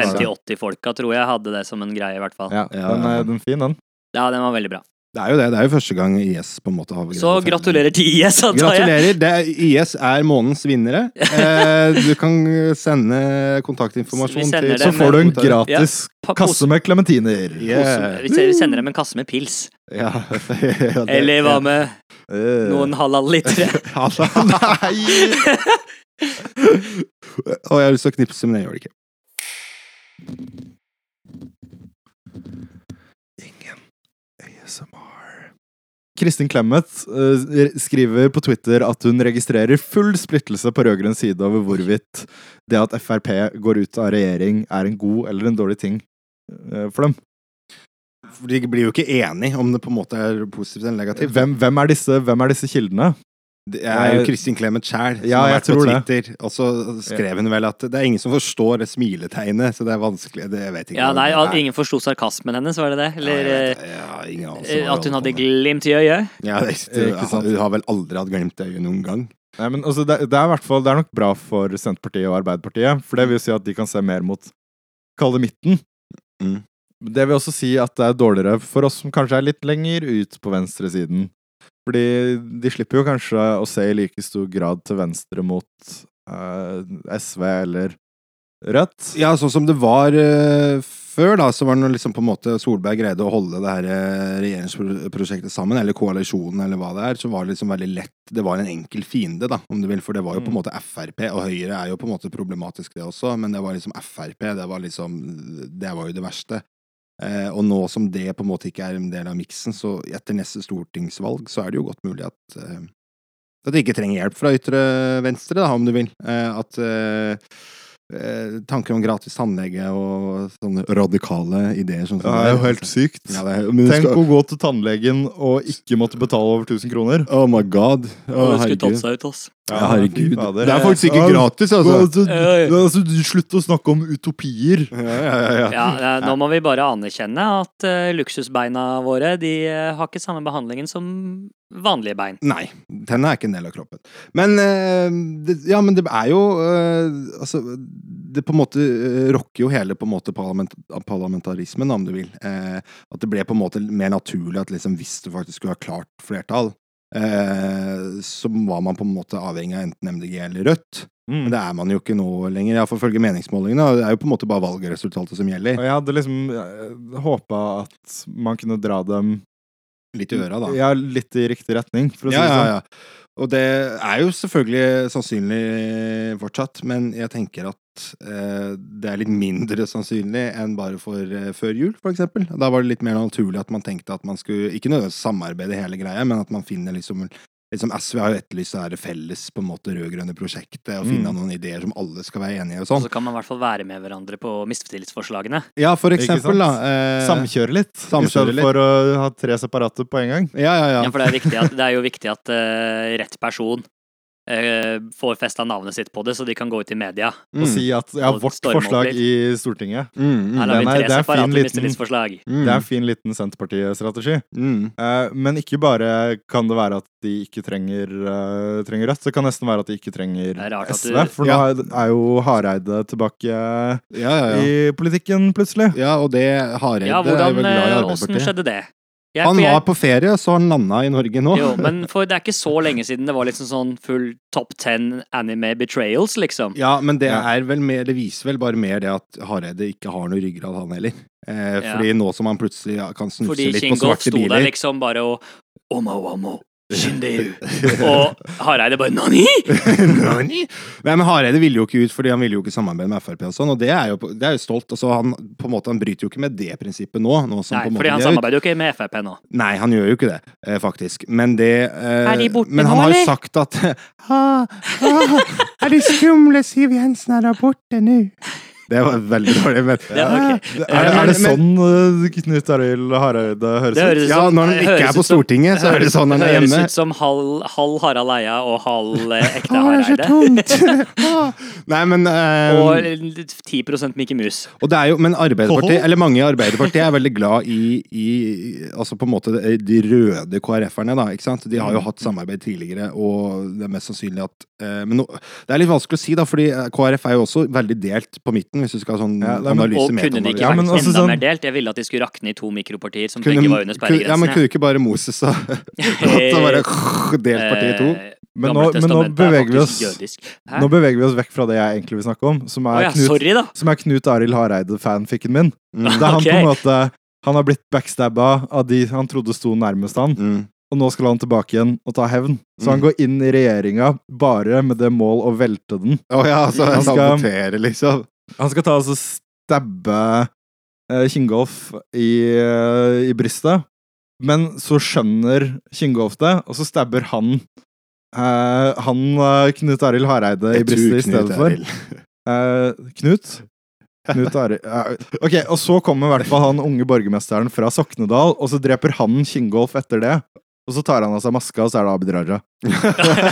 S8: 50-80-folka, tror jeg, hadde det som en greie, i hvert fall.
S6: Ja,
S7: Ja,
S6: den
S7: ja.
S6: er den er fin, den.
S8: Ja, den var veldig bra.
S7: Det er jo det. Det er jo første gang IS på en måte har
S8: Så gratulerer til IS, antar jeg.
S7: Gratulerer. Det er, IS er månedens vinnere. Eh, du kan sende kontaktinformasjon
S8: Vi sender
S7: til
S8: det,
S6: Så får du en gratis
S8: Pa- pose-
S6: kasse med klementiner.
S7: Yeah.
S8: Vi ser- vi sender dem en kasse med pils.
S7: Ja. Ja, det-
S8: Eller hva med
S6: Eh,
S8: noen halal-litere?
S7: Altså, Nei! Og jeg har lyst til å knipse, men jeg gjør det ikke.
S6: ASMR. Kristin Clemet eh, skriver på Twitter at hun registrerer full splittelse på rød-grønn side over hvorvidt det at Frp går ut av regjering, er en god eller en dårlig ting eh, for dem.
S7: For De blir jo ikke enige om det på en måte er positivt eller negativt.
S6: Hvem, hvem, er disse, hvem er disse kildene?
S7: Det er jo Kristin Clemet sjæl som
S6: Ja,
S7: har
S6: jeg
S7: vært på
S6: tror det.
S7: Twitter. Og så skrev hun vel at det er ingen som forstår det smiletegnet, så det er vanskelig det, Jeg vet ikke.
S8: Ja,
S7: hva-
S8: nei, at ingen forsto sarkasmen hennes, var det det?
S7: Ja, jeg
S8: Eller
S7: vet Altså, det. Ja, ingen anelse om
S8: eh, at hun
S7: hva hun holder
S8: hadde
S7: på med.
S8: glimt i øyet?
S7: Ja, det, er-
S6: Eh, ikke sant.
S7: Hun har vel aldri hatt glemt øyet noen gang.
S6: Nei, men altså, det, det er i hvert fall Det er nok bra for Senterpartiet og Arbeiderpartiet, for det vil si at de kan se mer mot Kall det midten.
S7: Mm.
S6: Det vil også si at det er dårligere for oss som kanskje er litt lenger ut på venstresiden. Fordi de slipper jo kanskje å se i like stor grad til venstre mot eh, SV eller Rødt.
S7: Ja, sånn som det var eh, før, da, så var det noe liksom på en måte Solberg greide å holde det her eh, regjeringsprosjektet sammen, eller koalisjonen, eller hva det er, så var det liksom veldig lett Det var en enkel fiende, da, om du vil, for det var jo på
S8: Mm.
S7: en måte Frp, og Høyre er jo på en måte problematisk, det også, men det var liksom Frp, det var liksom Det var jo det verste. Eh, og nå som det på en måte ikke er en del av miksen, så etter neste stortingsvalg, så er det jo godt mulig at eh, at de ikke trenger hjelp fra ytre venstre, da, om du vil. Eh, at eh, eh, tanker om gratis tannlege og sånne radikale ideer sånn som
S6: sykt.
S7: Ja, det er, men du
S6: Tenk
S7: skal,
S6: å gå til tannlegen og ikke måtte betale over 1000 kroner.
S7: Oh my god. Å,
S8: Og hun skulle tatt
S7: herregud.
S8: seg ut, altså. ass.
S7: Ja, herregud.
S6: fy fader.
S7: Det er faktisk ikke
S6: Ja,
S7: gratis, altså.
S6: Altså,
S8: Ja, ja.
S6: altså, slutt å snakke om utopier.
S7: Ja, ja, ja, ja.
S8: Ja, eh, nå må vi bare anerkjenne at eh, luksusbeina våre de eh, har ikke samme behandlingen som vanlige bein.
S7: Nei. Tennene er ikke en del av kroppen. Men eh, det, ja, men det er jo eh, Altså, det på en måte eh, rokker jo hele på en måte parlament, parlamentarismen, da, om du vil. Eh, at det ble på en måte mer naturlig at liksom, hvis du faktisk skulle ha klart flertall, eh, så var man på en måte avhengig av enten MDG eller Rødt. Men det er man jo ikke nå lenger, iallfall ifølge meningsmålingene. og Det er jo på en måte bare valgresultatet som gjelder.
S6: Og jeg hadde liksom håpa at man kunne dra dem
S7: Litt i øra, da.
S6: Ja, litt i riktig retning, for å si
S7: ja,
S6: det sånn.
S7: ja, ja. Og det er jo selvfølgelig sannsynlig fortsatt, men jeg tenker at eh, det er litt mindre sannsynlig enn bare for eh, før jul, for eksempel. Da var det litt mer naturlig at man tenkte at man skulle, ikke nødvendigvis samarbeide hele greia, men at man finner liksom Liksom SV har jo etterlyst det her felles på en måte rød-grønne prosjektet, og finne
S6: Mm.
S7: noen ideer som alle skal være enige i og
S8: Og
S7: sånn.
S8: så kan man i hvert fall være med hverandre på mistillitsforslagene.
S7: Ja, for
S6: Ikke sant?
S7: eksempel, da. eh,
S6: Samkjøre litt, i
S7: samkjøre
S6: stedet
S7: litt.
S6: for å ha tre separate på en gang.
S7: ja, ja, ja.
S8: Ja, for det er, viktig at, det er jo viktig at eh, rett person eh, får festa navnet sitt på det, så de kan gå ut i media.
S7: Mm.
S6: Og si at ja,
S8: Og
S6: vårt
S8: storme opp
S6: forslag
S8: litt.
S6: i Stortinget
S7: Mm, mm,
S8: Her har
S6: den
S8: vi
S6: er-
S8: tre
S6: det er fin
S8: separate
S6: liten-
S8: mistillitsforslag.
S7: mm,
S6: Det er en fin liten Senterparti-strategi.
S7: mm.
S6: Eh, men ikke bare kan det være at de ikke trenger, eh, trenger Rødt, det kan nesten være at de ikke trenger
S8: Det er rart at
S6: SV.
S8: du-
S6: For
S7: Ja.
S6: nå er- er jo Hareide tilbake
S7: Ja, ja, ja.
S6: i politikken, plutselig.
S7: Ja, og det Hareide
S8: Ja,
S7: er
S8: hvordan,
S7: vel glad i
S8: eh, hvordan
S7: Arbeiderpartiet.
S8: skjedde det? Jeg-
S7: Han
S8: for jeg-
S7: var på ferie, så han landa i Norge nå.
S8: Jo, men for det er ikke så lenge siden det var liksom sånn full top ten anime betrayals, liksom.
S7: Ja, men det,
S6: Ja.
S7: er vel mer, det viser vel bare mer det at Hareide ikke har noe ryggrad, han heller. Eh,
S8: Ja.
S7: Fordi nå som han plutselig ja, kan snuse
S8: Fordi
S7: litt på
S8: Kingolf
S7: svarte
S8: sto der
S7: biler
S8: liksom bare og Omo, omo, shindeu. Og Hareide bare Nani?
S7: Nani? Nei, men Hareide ville jo ikke ut, fordi han ville jo ikke samarbeide med Frp og sånn, og det er jo, det er jo stolt. Altså, han, på en måte, han bryter jo ikke med det prinsippet nå. nå som
S8: Nei,
S7: på en måte
S8: fordi han
S7: de er ute.
S8: samarbeider jo ikke med Frp nå.
S7: Nei, han gjør jo ikke det, eh, faktisk. Men det eh,
S8: Er de borte
S7: Men
S8: nå,
S7: han har jo
S8: eller?
S7: sagt at ah, ah, Er de skumle Siv Jensen er borte nå? Det var veldig dårlig, men
S8: Ja, ok.
S6: Er det,
S7: men-
S6: er det
S7: men-
S6: sånn eh, Knut Arild Hareide høres
S8: Det
S6: ut?
S8: høres ut
S7: Ja,
S8: som-
S7: når han
S8: høres
S7: ikke er
S8: ut
S7: på
S8: som-
S7: Stortinget, så er det sånn han er
S8: høres
S7: hjemme.
S8: ut som halv, halv Harald Eia og halv eh, ekte
S7: Å, det er så
S8: Hareide.
S7: tomt! Ah. Nei, men eh,
S8: Og eh, 10 Mikke Mus.
S7: Og det er jo, men Arbeiderpartiet, eller mange i Arbeiderpartiet er veldig glad i, i altså på en måte de- de røde KrF-erne, da, ikke sant? De har
S8: Mm.
S7: jo hatt samarbeid tidligere, og det er mest sannsynlig at eh, Men nå, det er litt vanskelig å si, da, fordi eh, KrF er jo også veldig delt på midten, hvis du skal ha sånn
S6: Ja, nei, men-
S7: analyse
S8: Og kunne det
S7: metaanalyse.
S8: ikke
S6: Ja,
S8: vært
S6: men også
S8: enda
S6: sånn-
S8: mer delt? Jeg ville at de skulle rakne i to mikropartier som
S7: altså Kunne-
S8: begge var under
S7: kunne- Ja, men
S8: sperregrensen.
S7: kunne ikke bare Moses og så bare delt partiet i to?
S8: eh,
S6: Men nå, men nå, beveger vi oss, nå
S8: Hæ?
S6: beveger vi oss vekk fra det jeg egentlig vil snakke om, som
S8: Å
S6: er
S8: ja,
S6: Knut,
S8: sorry, da.
S6: som er Knut Arild Hareide-fanfikken min.
S7: Mm.
S6: Det er han
S8: Ok.
S6: på en måte Han har blitt backstabba av de han trodde sto nærmest han,
S7: Mm.
S6: og nå skal han tilbake igjen og ta hevn. Så han
S7: Mm.
S6: går inn i regjeringa bare med det mål å velte den.
S7: Å ja, altså
S6: Han skal-
S7: sabotere, liksom.
S6: Han skal ta altså stabbe eh, Kingolf i, eh, i brystet, men så skjønner Kingolf det, og så stabber han eh, han eh, Knut Arild Hareide i
S7: Jeg tror
S6: brystet i
S7: Knut
S6: stedet
S7: er
S6: for.
S7: ild.
S6: Eh, Knut? Knut Arild eh, Ok, og så kommer i hvert fall han unge borgermesteren fra Soknedal, og så dreper han Kingolf etter det. Og så tar han av seg maska, og så er det Abid Raja.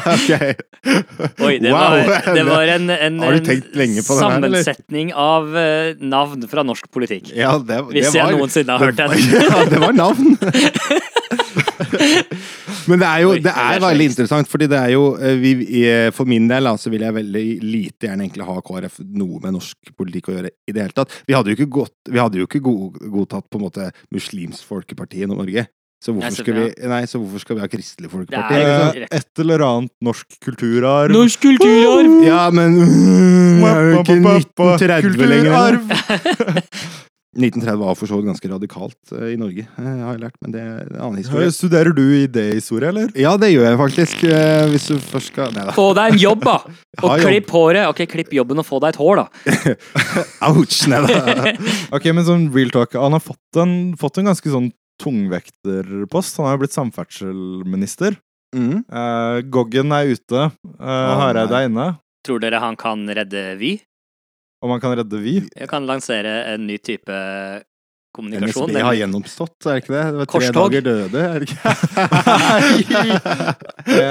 S7: Ok.
S8: Oi, det
S7: Wow.
S8: var, det var en, en,
S7: Har du
S8: en
S7: tenkt lenge på den her, eller?
S8: sammensetning av eh, navn fra norsk politikk.
S7: Ja, det, det
S8: Hvis jeg
S7: var-
S8: noensinne har hørt den.
S7: det. var- Ja, det var navn! Men det er jo
S8: Oi,
S7: det er
S8: det er
S7: veldig
S8: slekt.
S7: interessant, fordi det er jo eh, vi, i- For min del da, så vil jeg veldig lite gjerne egentlig ha KrF noe med norsk politikk å gjøre i det hele tatt. Vi hadde jo ikke, gått, vi hadde jo ikke go- godtatt på en måte Muslimsk Folkeparti i Norge. Så
S8: Nei,
S7: hvorfor,
S8: så
S7: skal
S8: bra.
S7: vi, nei, så hvorfor skal vi ha Kristelig Folkeparti?
S8: Det er ikke
S6: Eh,
S8: sant.
S6: Et eller annet norsk kulturarv.
S8: Norsk kulturarv!
S7: Ja, men mm, det er jo ikke 1930 lenger.
S6: Kulturarv!
S7: 1930 var for så vidt ganske radikalt eh, i Norge, eh, har jeg lært, men det er en annen historie.
S6: Eh, Studerer du idéhistorie, eller?
S7: Ja, det gjør jeg faktisk. eh, Hvis du først skal Nei da.
S8: Få deg en jobb, da! Og
S7: Ha jobb.
S8: klipp håret. Ok, klipp jobben og få deg et hår, da.
S7: Ouch! Nei da.
S6: Ok, men sånn real talk. Han har fått en, fått en ganske sånn tungvekterpost. Han har jo blitt samferdselsminister.
S7: Mm.
S6: Eh, Goggen er ute. Eh, Hareide er inne.
S8: Tror dere han kan redde Vy?
S6: Om han kan redde Vy.
S8: Jeg kan lansere en ny type kommunikasjon.
S7: NSB har
S8: nemlig-
S7: gjenoppstått, er det ikke det? det var tre
S8: Korstog.
S7: dager døde, er det
S6: Eh,
S7: ikke?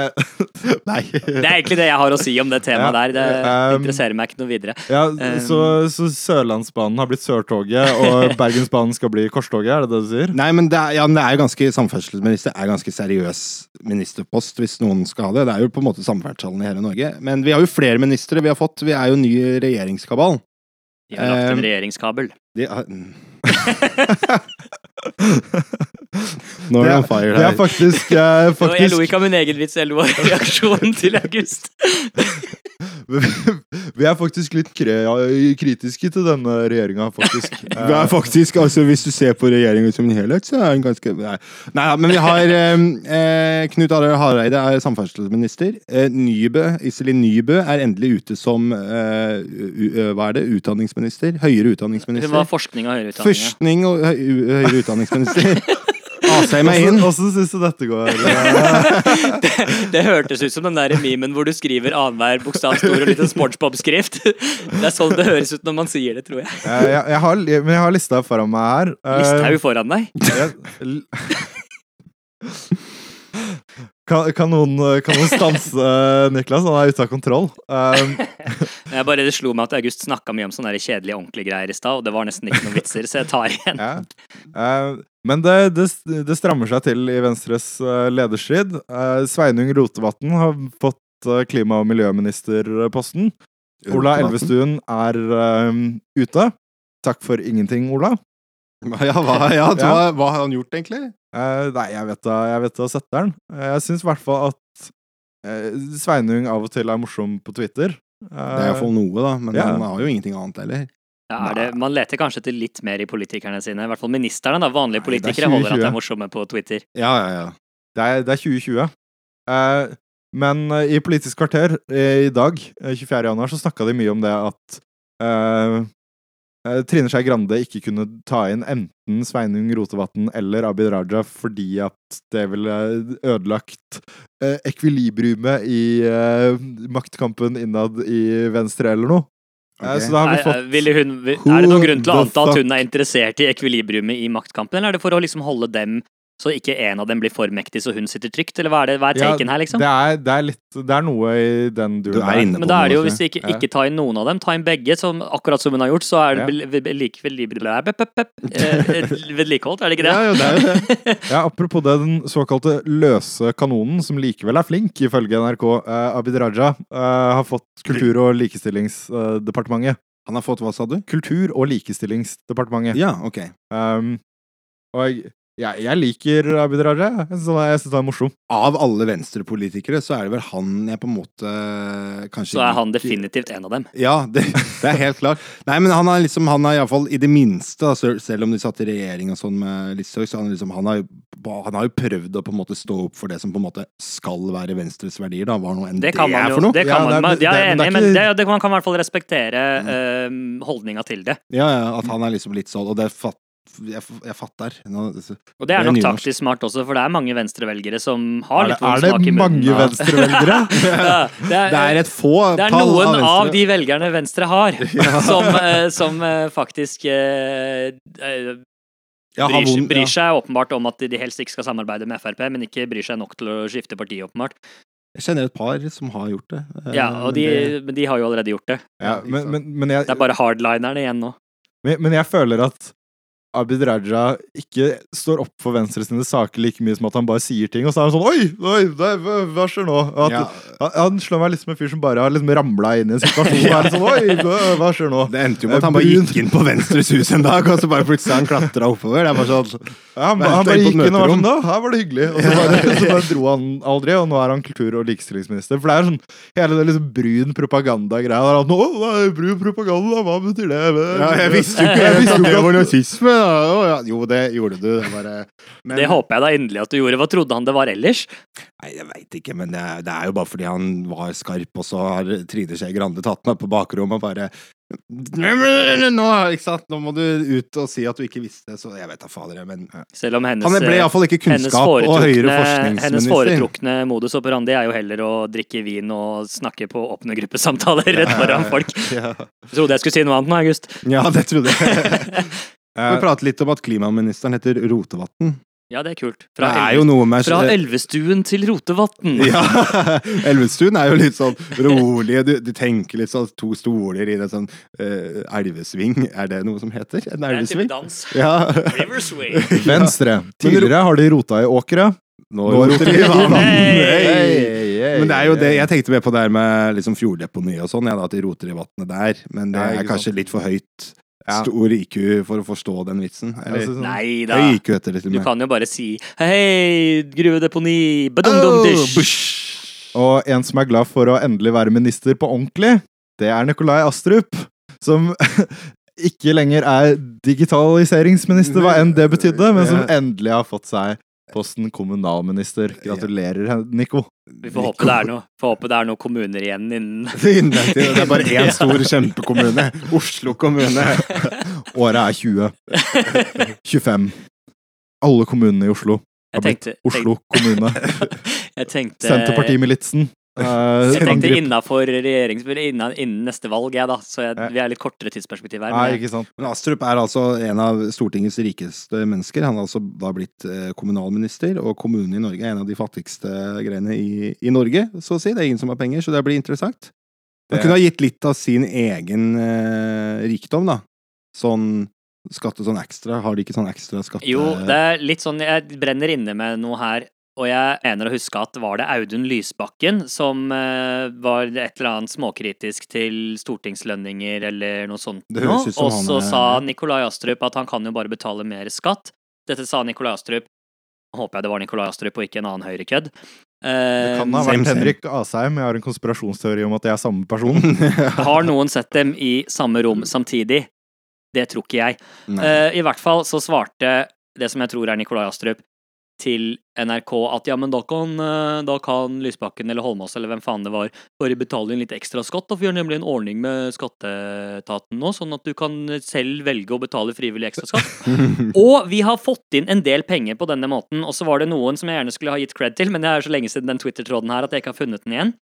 S7: Nei.
S8: Det er egentlig det jeg har å si om det temaet
S6: Ja,
S8: der. Det
S6: um,
S8: interesserer meg ikke noe videre.
S6: Ja, så, så Sørlandsbanen har blitt Sørtoget, og Bergensbanen skal bli Korstoget, er det det du sier?
S7: Nei, men det er, ja, men det er jo ganske Samferdselsminister er ganske seriøs ministerpost, hvis noen skal ha det. Det er jo på en måte samferdselen i hele Norge. Men vi har jo flere ministre vi har fått. Vi er jo ny regjeringskabal.
S8: Vi har lagt
S7: um,
S8: en
S6: ehm,
S8: regjeringskabel.
S7: De er, mm. Nå
S6: Det
S7: er det
S6: er,
S7: on fire
S6: det er
S7: her.
S6: faktisk, eh,
S8: Og Jeg lo
S6: faktisk
S8: ikke av min egen vits, jeg lo av reaksjonen til August.
S6: Vi er faktisk litt kre kritiske til denne regjeringa, faktisk.
S7: Det er faktisk, altså Hvis du ser på regjeringen som en helhet, så er den ganske Nei, Nei men vi har eh, eh, Knut Arild Hareide er samferdselsminister. Eh, Nybø, Iselin Nybø er endelig ute som eh, u, ø, Hva er det? Utdanningsminister?
S8: Hun
S7: Høyere
S8: var
S7: utdanningsminister?
S8: forskning og høyere utdanning. ja.
S7: Forskning og høy, u- høyere utdanningsminister. Asheim er inn.
S6: Åssen syns du dette går?
S8: Det hørtes ut som den der memen hvor du skriver annenhver bokstav stor og liten SpongeBob-skrift. Det er sånn det høres ut når man sier det, tror jeg.
S6: Eh, jeg, jeg har, li- men jeg har lista foran meg her. Eh,
S8: Listhaug foran deg.
S6: jeg- l- Kan, kan, noen, eh, kan noen stanse eh, Niklas? Han er ute av kontroll. Eh,
S8: Jeg bare det slo meg at August snakka mye om sånne der kjedelige, ordentlige greier i stad, og det var nesten ikke noen vitser, så jeg tar igjen.
S6: ja. Eh, men det, det, det strammer seg til i Venstres eh, lederstrid. Eh, Sveinung Rotevatn har fått eh, klima- og miljøministerposten. Ola Elvestuen er eh, ute. Takk for ingenting, Ola.
S7: Ja, hva, ja, hva,
S6: Ja.
S7: hva har han gjort, egentlig?
S6: Eh, nei, jeg vet da, jeg vet da setteren. Eh, jeg syns i hvert fall at eh, Sveinung av og til er morsom på Twitter. Eh,
S7: Det er iallfall noe, da. Men
S6: Ja.
S7: han har jo ingenting annet heller.
S8: Ja, er det, man leter kanskje etter litt mer i politikerne sine. I hvert fall ministerne, da. Vanlige
S7: Nei, det er
S8: politikere holder at
S6: 2020.
S8: de er morsomme på Twitter.
S7: Ja, ja, ja.
S6: det, er, det er 2020. Eh, men eh, i Politisk kvarter eh, i dag, eh, 24. januar, så snakka de mye om det at eh, eh, Trine Skei Grande ikke kunne ta inn enten Sveinung Rotevatn eller Abid Raja fordi at det ville ødelagt eh, ekvilibriumet i eh, maktkampen innad i Venstre eller noe. Eh,
S7: Ok.
S6: så da har
S8: Er,
S6: vi fått
S8: ville hun, vil-
S6: Who
S8: er det noen grunn til å
S6: the
S8: anta at
S6: fuck?
S8: hun er interessert i ekvilibriumet i maktkampen, eller er det for å liksom holde dem så ikke en av dem blir for mektig så hun sitter trygt, eller hva er, det, hva er
S6: Ja,
S8: taken her, liksom?
S6: Det er, det er litt Det er noe i den
S7: Du
S6: duren.
S7: er inne på
S8: Men da er det jo,
S7: noe, altså.
S8: hvis de ikke,
S6: Ja.
S8: ikke tar inn noen av dem, ta inn begge, som, akkurat som hun har gjort, så er det vel- vel- likevel liberal- pep, pep, pep, eh, vedlikeholdt, er det ikke det?
S7: Ja, jo, det er jo det.
S6: Ja, apropos det, den såkalte løse kanonen, som likevel er flink, ifølge NRK, eh, Abid Raja, eh, har fått Kultur- og likestillingsdepartementet.
S7: Han har fått hva, sa du?
S6: Kultur- og likestillingsdepartementet.
S7: Ja, ok.
S6: Um, og jeg, jeg, jeg liker Abid Raja. Jeg syns han er- jeg synes han er morsom.
S7: Av alle venstrepolitikere så er det vel han jeg på en måte eh, kanskje
S8: Så er han
S7: liker.
S8: definitivt en av dem.
S7: Ja, det, det er helt klart. Nei, men han har liksom, han har iallfall i det minste, da, selv- selv om de satt i regjering og sånn med Listhaug, så han, liksom, han, har, jo- han har jo prøvd å på en måte stå opp for det som på en måte skal være Venstres verdier, da. Hva nå enn
S8: Det kan man
S7: er
S8: jo.
S7: for noe.
S8: Det kan
S6: Ja, nei,
S8: man,
S6: men-
S8: ja, jeg er
S6: det- men det er
S8: enig, men
S6: ikke-
S8: det, det, man kan i hvert fall respektere eh, holdninga til det.
S7: Ja, ja, at han er liksom litt sånn, og det fatt, jeg, jeg fatter. Nå,
S8: Og det
S7: Det
S8: er
S7: er
S8: nok
S7: nynorsk.
S8: taktisk smart også, for det er mange venstrevelgere som
S6: Er
S8: har
S6: det, er
S8: litt vond
S6: det
S8: smak i munnen.
S6: mange
S8: av-
S6: venstrevelgere?
S8: Ja, det
S7: det
S8: er,
S7: er et få
S8: det er
S7: tall
S8: noen av
S7: Venstre-
S8: de velgerne Venstre har, som, eh, som eh, faktisk eh, eh,
S7: Ja,
S8: bryr,
S7: har
S8: seg-
S7: vond-
S8: bryr
S7: ja.
S8: seg åpenbart om at de helst ikke skal samarbeide med Frp, men ikke bryr seg nok til å skifte parti, åpenbart.
S7: Jeg kjenner et par som har gjort det. eh,
S8: Ja, og de,
S7: men det-
S8: Men de har jo allerede gjort det.
S6: Ja, men, men, men, jeg,
S8: Det er bare hardlinerne igjen nå.
S6: men, men jeg føler at Abid Raja ikke står opp for Venstre sine saker like mye som at han bare sier ting, og så er han sånn Oi, oi, nei, hva, hva skjer nå? Og At,
S7: ja,
S6: han, han slår meg litt som en fyr som bare har liksom ramla inn i en situasjon. Og er litt sånn, Oi, hva, hva skjer nå?
S7: det endte jo med at han bare gikk inn på Venstres hus en dag, og så bare plutselig har han klatra oppover. Det er bare sånn
S6: Ja, han,
S7: Vent,
S6: han bare
S7: jeg er på
S6: gikk
S7: et
S6: inn og var sånn
S7: møterom.
S6: Da, her var det hyggelig. Og så bare, så bare dro han aldri, og nå er han kultur- og likestillingsminister. For det er sånn hele det liksom brun propaganda-greia. der, at, Å, det er brun propaganda, hva betyr det?
S7: Ja, jeg visste jo ikke
S6: Jeg visste
S7: at
S6: jo
S7: det var
S6: ikke at-
S7: nazisme! Da. Å, ja. Jo, det gjorde du. Det, bare. Men,
S8: Det håper jeg da inderlig at du gjorde. Hva trodde han det var ellers?
S7: Nei, jeg veit ikke, men det er, det er jo bare fordi han var skarp, og så har Trine Skei Grande tatt meg på bakrommet og bare nå, ikke sant? nå må du ut og si at du ikke visste, så jeg vet da fader, jeg, men
S8: Selv om hennes,
S7: Han ble
S8: eh,
S7: iallfall ikke
S8: hennes
S7: kunnskap og høyere
S8: foretrukne, hennes
S7: forskningsminister.
S8: foretrukne modus operandi er jo heller å drikke vin og snakke på åpne gruppesamtaler rett foran folk.
S7: Ja.
S8: Jeg trodde jeg skulle si noe annet nå, August.
S7: ja, det trodde jeg. Eh, Vi prater litt om at klimaministeren heter Rotevatn.
S8: Ja, det er kult.
S7: Det
S8: Fra,
S7: er
S8: Elve-
S7: jo noe med
S8: fra Elvestuen til Rotevatn.
S7: Ja, Elvestuen er jo litt sånn rolig, du, du tenker litt sånn to stoler i en sånn eh, elvesving, er det noe som heter? En
S8: det er en type
S7: elvesving?
S8: dans.
S7: Ja.
S8: Riversway.
S6: Venstre. Tidligere har de rota i åkre.
S7: Nå
S6: Nå roter
S7: roter
S6: vi
S7: vi vann!
S8: Hey!
S7: Hey! Men det er jo det, jeg tenkte mer på det her med liksom fjorddeponi og sånn, ja, da, at de roter i vannet der, men det
S6: Ja,
S7: er
S6: ikke
S7: kanskje litt for høyt.
S6: Ja.
S7: Stor IQ for å forstå den vitsen. Eller,
S6: sånn-
S8: Nei da.
S7: høy IQ heter det til
S8: sånn- Du
S7: og med.
S8: kan jo bare si hei, gruvedeponi,
S7: Oh,
S8: badumdumdish.
S7: bush.
S6: Og en som er glad for å endelig være minister på ordentlig, det er Nikolai Astrup. Som ikke lenger er digitaliseringsminister, hva enn det betydde, men som endelig har fått seg posten kommunalminister. Gratulerer, Nico.
S8: Vi får håpe det er noe, får håpe det er noe kommuner igjen innen
S7: Det er bare én stor kjempekommune. Oslo kommune.
S6: Året er 20. 25. Alle kommunene i Oslo.
S8: Jeg tenkte,
S6: Oslo kommune.
S8: tenkte, jeg tenkte,
S6: Senterpartimilitsen. Uh,
S8: Jeg tenkte innafor regjerings... Innen, innen neste valg, jeg, da. Så jeg,
S6: Ja.
S8: vi er litt kortere tidsperspektiv
S6: Nei,
S8: her. Men jeg,
S6: ikke sant.
S7: Men Astrup er altså en av Stortingets rikeste mennesker. Han har altså da blitt eh, kommunalminister, og kommunen i Norge er en av de fattigste greiene i, i Norge, så å si. Det er ingen som har penger, så det blir interessant. Han
S6: Det-
S7: kunne ha gitt litt av sin egen eh, rikdom, da. Sånn skatte sånn ekstra. Har de ikke sånn ekstra skatte...
S8: jo, det er litt sånn Jeg brenner inne med noe her. Og jeg mener å huske at var det Audun Lysbakken som eh, var et eller annet småkritisk til stortingslønninger eller noe sånt
S7: Det høres ut som
S8: Og
S7: han
S8: så
S7: er-
S8: sa Nikolai Astrup at han kan jo bare betale mer skatt. Dette sa Nikolai Astrup. Nå Håper jeg det var Nikolai Astrup og ikke en annen høyrekødd.
S6: Det
S8: Eh,
S6: kan ha
S7: Same,
S6: vært
S7: same.
S6: Henrik Asheim. Jeg har en konspirasjonsteori om at jeg er samme person.
S8: Har noen sett dem i samme rom samtidig? Det tror ikke jeg.
S7: Nei.
S8: Eh, I hvert fall så svarte det som jeg tror er Nikolai Astrup, til NRK at ja, men da kan, eh, da kan Lysbakken eller Holmås eller hvem faen det var, bare betale inn litt ekstra skatt. Da får vi gjør nemlig en ordning med skatteetaten nå, sånn at du kan selv velge å betale frivillig ekstra skatt. Og vi har fått inn en del penger på denne måten, og så var det noen som jeg gjerne skulle ha gitt cred til, men det er så lenge siden den Twitter-tråden her at jeg ikke har funnet den igjen,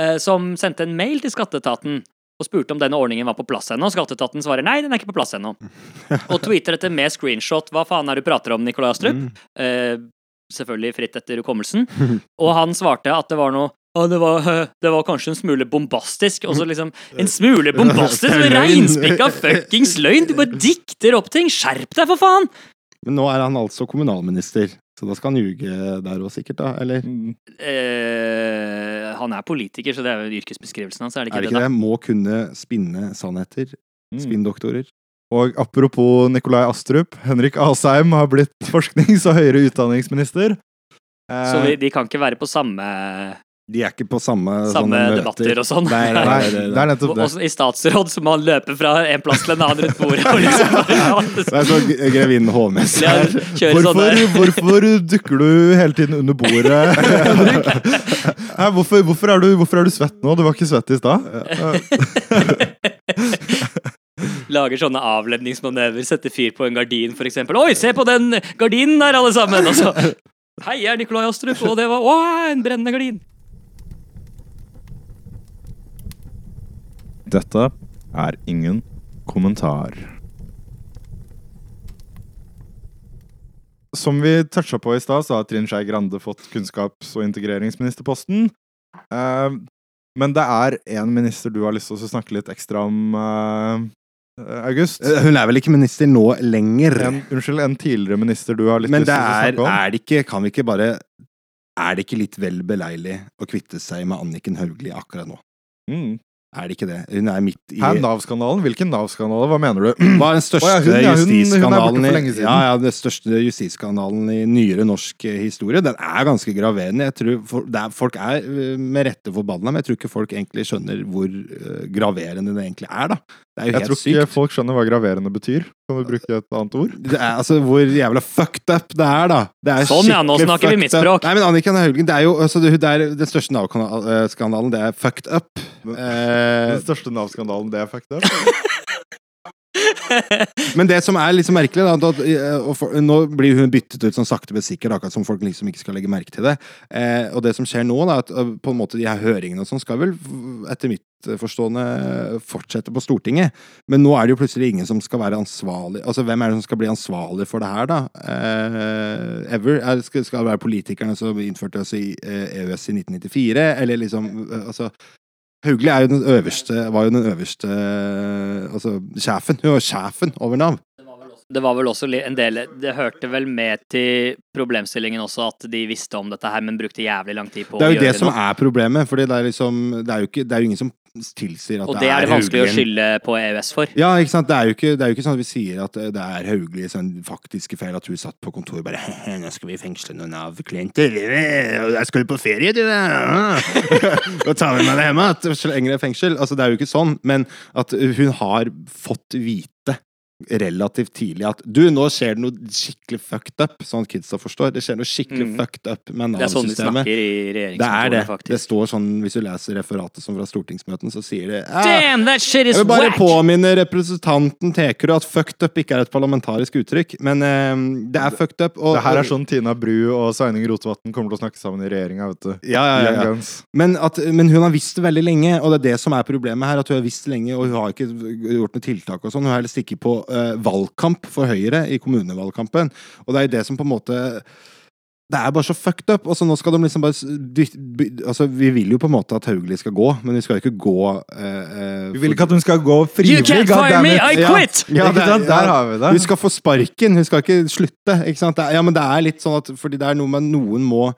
S8: eh, som sendte en mail til skatteetaten og spurte om denne ordningen var på plass ennå. Skatteetaten svarer nei, den er ikke på plass ennå. Og tweeter dette med screenshot. Hva faen er det du prater om, Nikolai Astrup?
S7: Mm.
S8: Eh, selvfølgelig fritt etter hukommelsen. Og han svarte at det var noe «Å, det var, eh, det var kanskje en smule bombastisk. Og så liksom En smule bombastisk?
S7: Det er løgn.
S8: Reinspikka fuckings løgn! Du bare dikter opp ting! Skjerp deg, for faen!
S7: Men nå er han altså kommunalminister, så da skal han ljuge der òg, sikkert, da? Eller?
S8: Eh, han er politiker, så det er jo yrkesbeskrivelsen hans, er det ikke
S7: Er det
S8: det?
S7: ikke
S8: da?
S7: det? Må kunne spinne sannheter.
S6: Mm.
S7: Spinndoktorer.
S6: Og apropos Nikolai Astrup, Henrik Asheim har blitt forsknings- og høyere utdanningsminister. Eh,
S8: Så vi, de kan ikke være på samme,
S7: De er ikke på samme,
S8: samme
S7: sånne
S8: debatter og sånn.
S7: Nei, nei,
S6: Nei,
S7: nei,
S6: det
S7: nei.
S6: er
S8: Og
S6: nettopp det.
S8: også I statsråd så må han løpe fra en plass til en annen rundt bordet. Og liksom,
S7: Det er sånn grevinnen Hånes.
S8: Ja, kjøre
S6: Hvorfor,
S8: sånn der.
S6: hvorfor dukker du hele tiden under bordet, Henrik? Hæ, hvorfor, hvorfor, er du, hvorfor er du svett nå? Du var ikke svett i stad. Eh,
S8: Lager sånne avledningsmanøver, setter fyr på en gardin for eksempel. Oi, se på den gardinen her, alle sammen! Og så Hei, jeg er Nikolai Astrup, og det var Å, en brennende gardin!
S6: Dette er ingen kommentar. som vi toucha på i stad, så har Trine Skei Grande fått kunnskaps- og integreringsministerposten. Eh, men det er én minister du har lyst til å snakke litt ekstra om, eh, August.
S7: Eh, Hun er vel ikke minister nå lenger.
S6: En, unnskyld, en tidligere minister du har litt
S7: Men
S6: lyst
S7: det
S6: til å
S7: er,
S6: snakke om.
S7: er det ikke Kan vi ikke bare Er det ikke litt vel beleilig å kvitte seg med Anniken Hauglie akkurat nå?
S6: Mm.
S7: Er det ikke det? Hun er midt i
S6: Her er Nav-skandalen. Hvilken Nav-skandale? Hva mener du?
S7: Hva er den største
S6: Å ja, hun, ja, hun- hun er borte
S7: justisskandalen
S6: for
S7: i-
S6: lenge siden.
S7: Ja, ja, den største justisskandalen i nyere norsk eh, historie. Den er ganske graverende. Jeg tror for, det er, folk er eh, med rette forbanna, men jeg tror ikke folk egentlig skjønner hvor eh, graverende det egentlig er, da. Det er jo
S6: Jeg tror
S7: helt
S6: ikke
S7: sykt.
S6: folk skjønner hva graverende betyr. Kan du bruke et annet ord?
S7: Det er, altså, hvor jævla fucked up det er, da. Det er
S8: Sånn, ja, nå
S7: skikkelig
S8: snakker vi
S7: fucked
S8: mitt
S7: up.
S8: språk.
S7: Nei, men Anniken Haugen, det er jo altså, det, det er, Den største Nav-skandalen, det er fucked up. Eh,
S6: Den største Nav-skandalen, det er fakta.
S7: Men det som er litt så merkelig, da, at, eh, og for, nå blir hun byttet ut sånn sakte, men sikkert, akkurat som folk liksom ikke skal legge merke til det. Eh, og det som skjer nå, da, at eh, på en måte de her høringene og sånn skal vel, etter mitt eh, forstående, eh, fortsette på Stortinget. Men nå er det jo plutselig ingen som skal være ansvarlig Altså, hvem er det som skal bli ansvarlig for det her, da? Eh, ever? Er, skal, skal det være politikerne som innførte oss i eh, EØS i 1994, eller liksom eh, Altså Hauglie er jo den øverste, var jo den øverste altså, sjefen. Hun var sjefen over Nav.
S8: Det var vel også li- en del Det hørte vel med til problemstillingen også at de visste om dette her, men brukte jævlig lang tid på
S7: Det er
S8: å
S7: jo det
S8: gjøre
S7: som
S8: noe.
S7: er problemet, fordi det er liksom Det er jo, ikke, det er jo ingen som tilsier at
S8: Og det er det vanskelig å
S7: Hauglie.
S8: skylde på EØS for.
S7: Ja, ikke sant. Det er jo ikke, det er jo ikke sånn at vi sier at det er Hauglie sin faktiske feil at hun satt på kontor og bare «Hehe, Nå skal vi fengsle noen Nav-klienter. og Jeg skal jo på ferie, du. Da tar vi med det hjemme. At så lenge det er fengsel. Altså, det er jo ikke sånn. Men at hun har fått vite relativt tidlig at du, nå skjer det noe skikkelig fucked up, sånn at kidsa forstår. Det skjer noe skikkelig
S8: Mm.
S7: fucked up med
S8: Det er sånn de
S7: Nav-systemet.
S8: snakker i
S7: Det er det.
S8: regjeringskontorene,
S7: Det
S8: faktisk.
S7: står sånn, hvis du leser referatet som fra stortingsmøtene, så sier det «Ah,
S8: Damn, that shit is
S7: jeg vil bare
S8: whack!
S7: påminne representanten Tekerud at fucked up ikke er et parlamentarisk uttrykk, men eh, det er fucked up. Og,
S6: Det her er sånn Tina Bru og Sveining Rotevatn kommer til å snakke sammen i regjeringa, vet du.
S7: ja, ja, ja,
S6: Young
S7: ja.
S6: Guns.
S7: Men, at, men hun har visst det veldig lenge, og det er det som er problemet her. At hun har visst lenge, og hun har ikke gjort noe tiltak og sånn. Hun har helst ikke på eh, valgkamp for Høyre i kommunevalgkampen, og det er jo det som på en måte det er bare så fucked up. Altså, nå skal de liksom bare s- dyt- by- altså, Vi vil jo på en måte at Hauglie skal gå, men vi skal jo ikke gå eh, eh,
S6: Vi vil ikke at hun skal gå
S8: You
S6: frivillig,
S8: can't fire me, I quit!
S7: Ja,
S6: Ikke
S7: det er-
S6: sant? Der har vi det.
S7: Hun skal få sparken, hun skal ikke slutte. Ikke sant? Det er, ja, men det er litt sånn at Fordi det er noe med noen må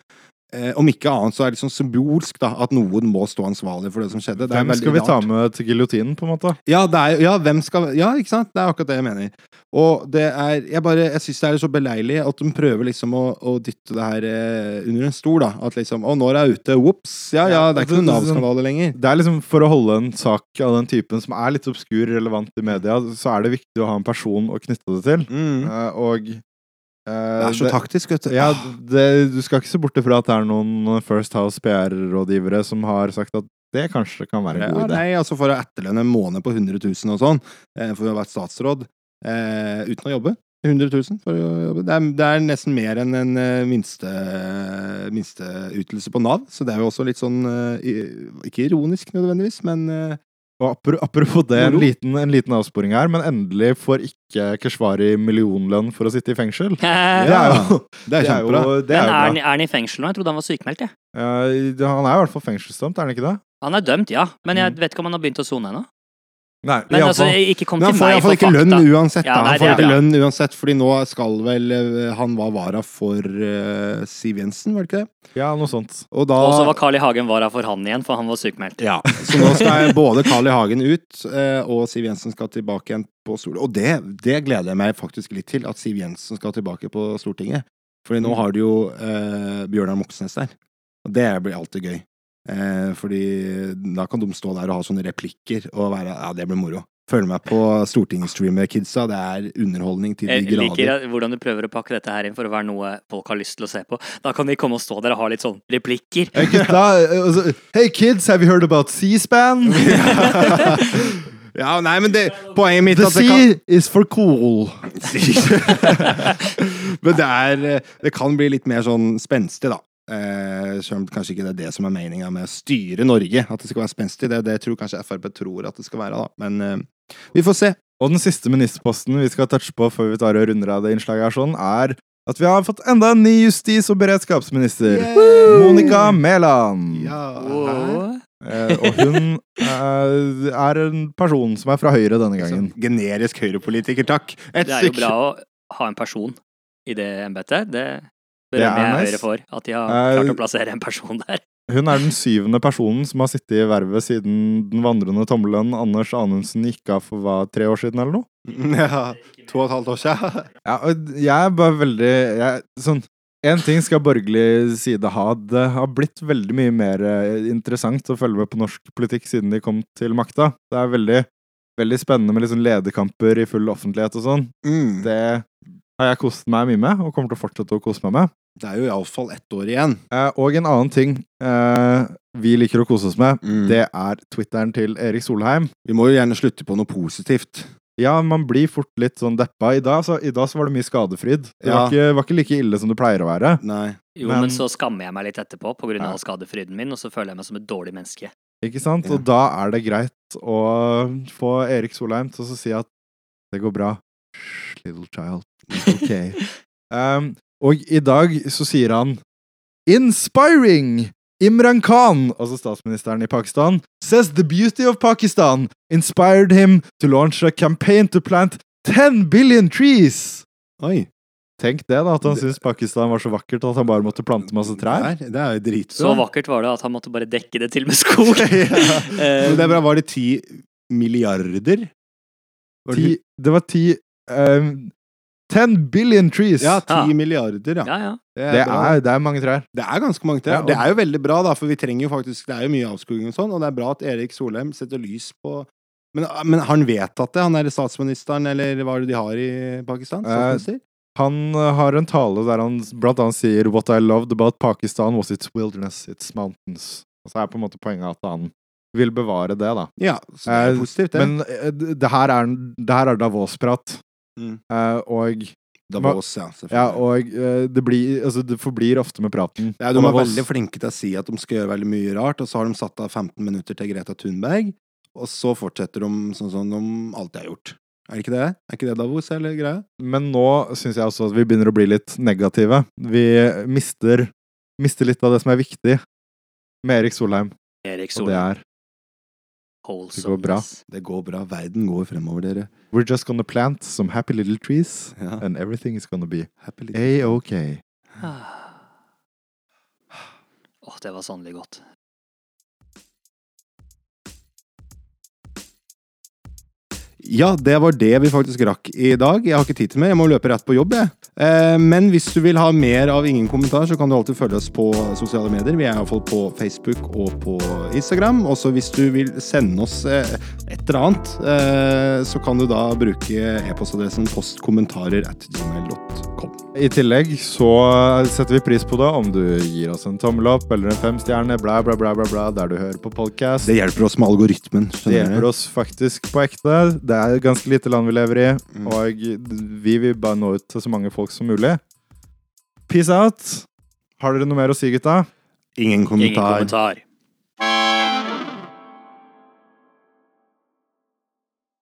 S7: eh, Om ikke annet så er det litt sånn symbolsk, da. At noen må stå ansvarlig for det som skjedde. Det er
S6: Hvem
S7: veldig
S6: skal vi ta
S7: rart.
S6: med til giljotinen, på en måte?
S7: Ja, det er, ja, hvem skal Ja, ikke sant? Det er akkurat det jeg mener. Og det er Jeg bare Jeg syns det er så beleilig at de prøver liksom å, å dytte det her eh, under en stol, da. At liksom Å, når er jeg ute. Ops. Ja, ja, altså, det er sånn ikke noen Nav-skandale lenger.
S6: Det er liksom For å holde en sak av den typen som er litt obskur relevant i media, så er det viktig å ha en person å knytte det til.
S7: Mm.
S6: Eh, og
S7: Det er så taktisk, vet du.
S6: Ja, det, du skal ikke se bort ifra at det er noen First House PR-rådgivere som har sagt at det kanskje kan være en
S7: Ja,
S6: god idé.
S7: nei, altså for å etterlønne en måned på 100 000 og sånn, eh, for å ha vært statsråd eh, uten å jobbe. 100 000 for å jobbe. Det er, det er nesten mer enn en eh, minste minsteytelse på Nav, så det er jo også litt sånn eh, i- Ikke ironisk nødvendigvis, men eh,
S6: Og apro- apropos det, en
S7: Moro.
S6: liten, en liten avsporing her, men endelig får ikke Keshvari millionlønn for å sitte i fengsel. Det er jo,
S7: det
S6: det
S7: er
S6: er
S7: kjempebra.
S6: jo, det
S8: Men
S6: er
S8: er
S6: jo
S8: han,
S6: bra.
S8: er han i fengsel nå? Jeg trodde han var sykemeldt, jeg.
S6: Eh, han er i hvert fall fengselsdømt, er han ikke det?
S8: Han er dømt, ja. Men jeg
S6: Mm.
S8: vet ikke om han har begynt å sone ennå.
S6: Nei,
S8: Men
S6: i alle
S8: altså,
S6: fall.
S8: ikke kom
S7: Men
S8: til
S7: han får
S8: meg for
S7: iallfall ikke lønn
S8: fakta.
S7: uansett,
S8: Ja,
S7: da.
S8: nei,
S7: Han
S8: det
S7: får
S8: er
S7: ikke
S8: bra.
S7: lønn uansett, fordi nå skal vel eh, Han var vara for eh, Siv Jensen, var det ikke det?
S6: Ja, noe sånt.
S7: Og da
S8: Og så var Carl I. Hagen vara for han igjen, for han var sykemeldt.
S7: Ja, så nå skal både Carl I. Hagen ut, eh, og Siv Jensen skal tilbake igjen på Stortinget. Og det, det gleder jeg meg faktisk litt til, at Siv Jensen skal tilbake på Stortinget. Fordi nå har du jo eh, Bjørnar Moxnes der, og det blir alltid gøy. Eh, fordi da kan de stå der og ha sånne replikker og være Ja, det blir moro. Følg meg på Stortinget-streamer-kidsa, det er underholdning til de
S8: Jeg liker
S7: grader.
S8: at- hvordan du prøver å pakke dette her inn for å være noe folk har lyst til å se på. Da kan de komme og stå der og ha litt sånn replikker.
S6: Hey, gutta, eh, altså, hey kids, have you heard about C-span?
S7: Ja, nei, men det, poenget mitt
S6: The
S7: at det kan-
S6: C is for cool.
S7: Men det er eh, Det kan bli litt mer sånn spenstig, da. Eh, selv om kanskje ikke det er det som er meninga med å styre Norge. At det skal være spenstig. Det, det tror kanskje Frp tror at det skal være, da. Men eh, vi får se.
S6: Og den siste ministerposten vi skal touche på før vi tar og runder av det innslaget her, sånn, er at vi har fått enda en ny justis- og beredskapsminister. Monica Mæland.
S8: Wow.
S6: Eh, og hun eh, er en person som er fra Høyre denne gangen.
S7: Som Altså, Generisk høyrepolitiker, takk. Et
S8: Det er jo
S7: stykk.
S8: bra å ha en person i det embetet. Det
S6: Det er
S8: berømmer jeg
S6: nice.
S8: Høyre for. At de har
S6: Eh,
S8: klart å plassere en person der.
S6: Hun er den syvende personen som har sittet i vervet siden den vandrende tommelen Anders Anundsen gikk av for hva, tre år siden, eller noe?
S7: Ja, to og et halvt år siden.
S6: Ja, og jeg er bare veldig jeg, Sånn Én ting skal borgerlig side ha. Det har blitt veldig mye mer eh, interessant å følge med på norsk politikk siden de kom til makta. Det er veldig, veldig spennende med liksom lederkamper i full offentlighet og sånn.
S7: Mm. Det,
S6: Det har jeg kost meg mye med, og kommer til å fortsette å kose meg med.
S7: det er jo iallfall ett år igjen.
S6: Eh, og en annen ting eh, vi liker å kose oss med,
S8: Mm.
S7: Mm.
S6: det er Twitteren til Erik Solheim.
S7: Vi må jo gjerne slutte på noe positivt.
S6: Ja, man blir fort litt sånn deppa. I dag så, i dag så var det mye skadefryd. Det
S7: Ja.
S6: var, ikke, var ikke like ille som det pleier å være.
S7: Nei.
S8: Jo,
S6: Men-
S8: men, så skammer jeg meg litt etterpå pga.
S6: Ja.
S8: av skadefryden min, og så føler jeg meg som et dårlig menneske.
S6: Ikke sant?
S7: Ja.
S6: Og da er det greit å få Erik Solheim til å si at det går bra. Shh, little child. It's okay. um, og i dag så sier han Inspiring! Imran Khan, altså statsministeren i Pakistan, says the beauty of Pakistan inspired him to launch a campaign to plant 10 billion trees!
S7: Oi.
S6: Tenk det, da, at han
S7: Det-
S6: syntes Pakistan var så vakkert at han bare måtte plante masse trær.
S7: Det er, det er jo
S8: Så
S7: dritsøtt.
S8: vakkert var det at han måtte bare dekke det til med skog. Eh,
S7: Men det er bra. Var det ti milliarder? Var det-
S6: Ti, det var ti um, 10 billion trees!
S7: Ja, ti
S8: Ja.
S7: milliarder, ja.
S8: ja, ja.
S6: Det
S7: bra.
S6: er, det er mange trær.
S7: det er ganske mange trær.
S6: Ja, og-
S7: Det er jo veldig bra, da, for vi trenger jo faktisk Det er jo mye avskoging og sånn, og det er bra at Erik Solheim setter lys på men, men har han vedtatt det? Han er statsministeren, eller hva er det de har i
S6: Eh,
S7: Pakistan? Statsminister?
S6: Han eh, har en tale der han s- blant annet sier What I loved about Pakistan was its wilderness, its mountains. Og så er på en måte poenget at han vil bevare det, da.
S7: Ja, så det er
S6: Eh,
S7: jo positivt, det.
S6: Men eh, d- det her er, det her er Davos-prat.
S7: Mm.
S6: Eh, og
S7: Davos, ja. selvfølgelig.
S6: ja, og eh, det, blir, altså, det forblir ofte med praten.
S7: Ja, de
S6: Og
S7: er
S6: Davos-
S7: veldig flinke til å si at de skal gjøre veldig mye rart, og så har de satt av 15 minutter til Greta Thunberg, og så fortsetter de sånn som de alltid har gjort. Er det ikke det? Er ikke det Davos, eller greia?
S6: Men nå syns jeg også at vi begynner å bli litt negative. Vi mister, mister litt av det som er viktig med Erik Solheim,
S8: Erik
S6: og det
S8: Solheim.
S6: er
S8: Wholesomeness.
S6: går bra.
S7: Det går bra. Verden går fremover, dere.
S6: We're just gonna plant some happy little trees,
S7: Ja.
S6: and everything is gonna be
S7: Happy little-
S6: A-OK.
S8: Ah. Åh, det var sannelig godt.
S7: Ja, det var det vi faktisk rakk i dag. Jeg har ikke tid til mer, jeg må løpe rett på jobb. Jeg. Eh, Men hvis du vil ha mer av Ingen kommentar, så kan du alltid følge oss på sosiale medier. Vi er iallfall på Facebook og på Instagram. Også hvis du vil sende oss eh, et eller annet, eh, så kan du da bruke e-postadressen postkommentarer at gmail.com.
S6: I tillegg så setter vi pris på det om du gir oss en tommel opp eller en femstjerne, bla, bla, bla, bla, bla, der du hører på podkast.
S7: Det hjelper oss med algoritmen.
S6: Det hjelper oss faktisk på ekte. Det er ganske lite land vi lever i,
S7: Mm.
S6: og vi vil bare nå ut til så mange folk som mulig. Peace out. Har dere noe mer å si, gutta?
S8: Ingen
S7: Ingen kommentar.
S8: kommentar.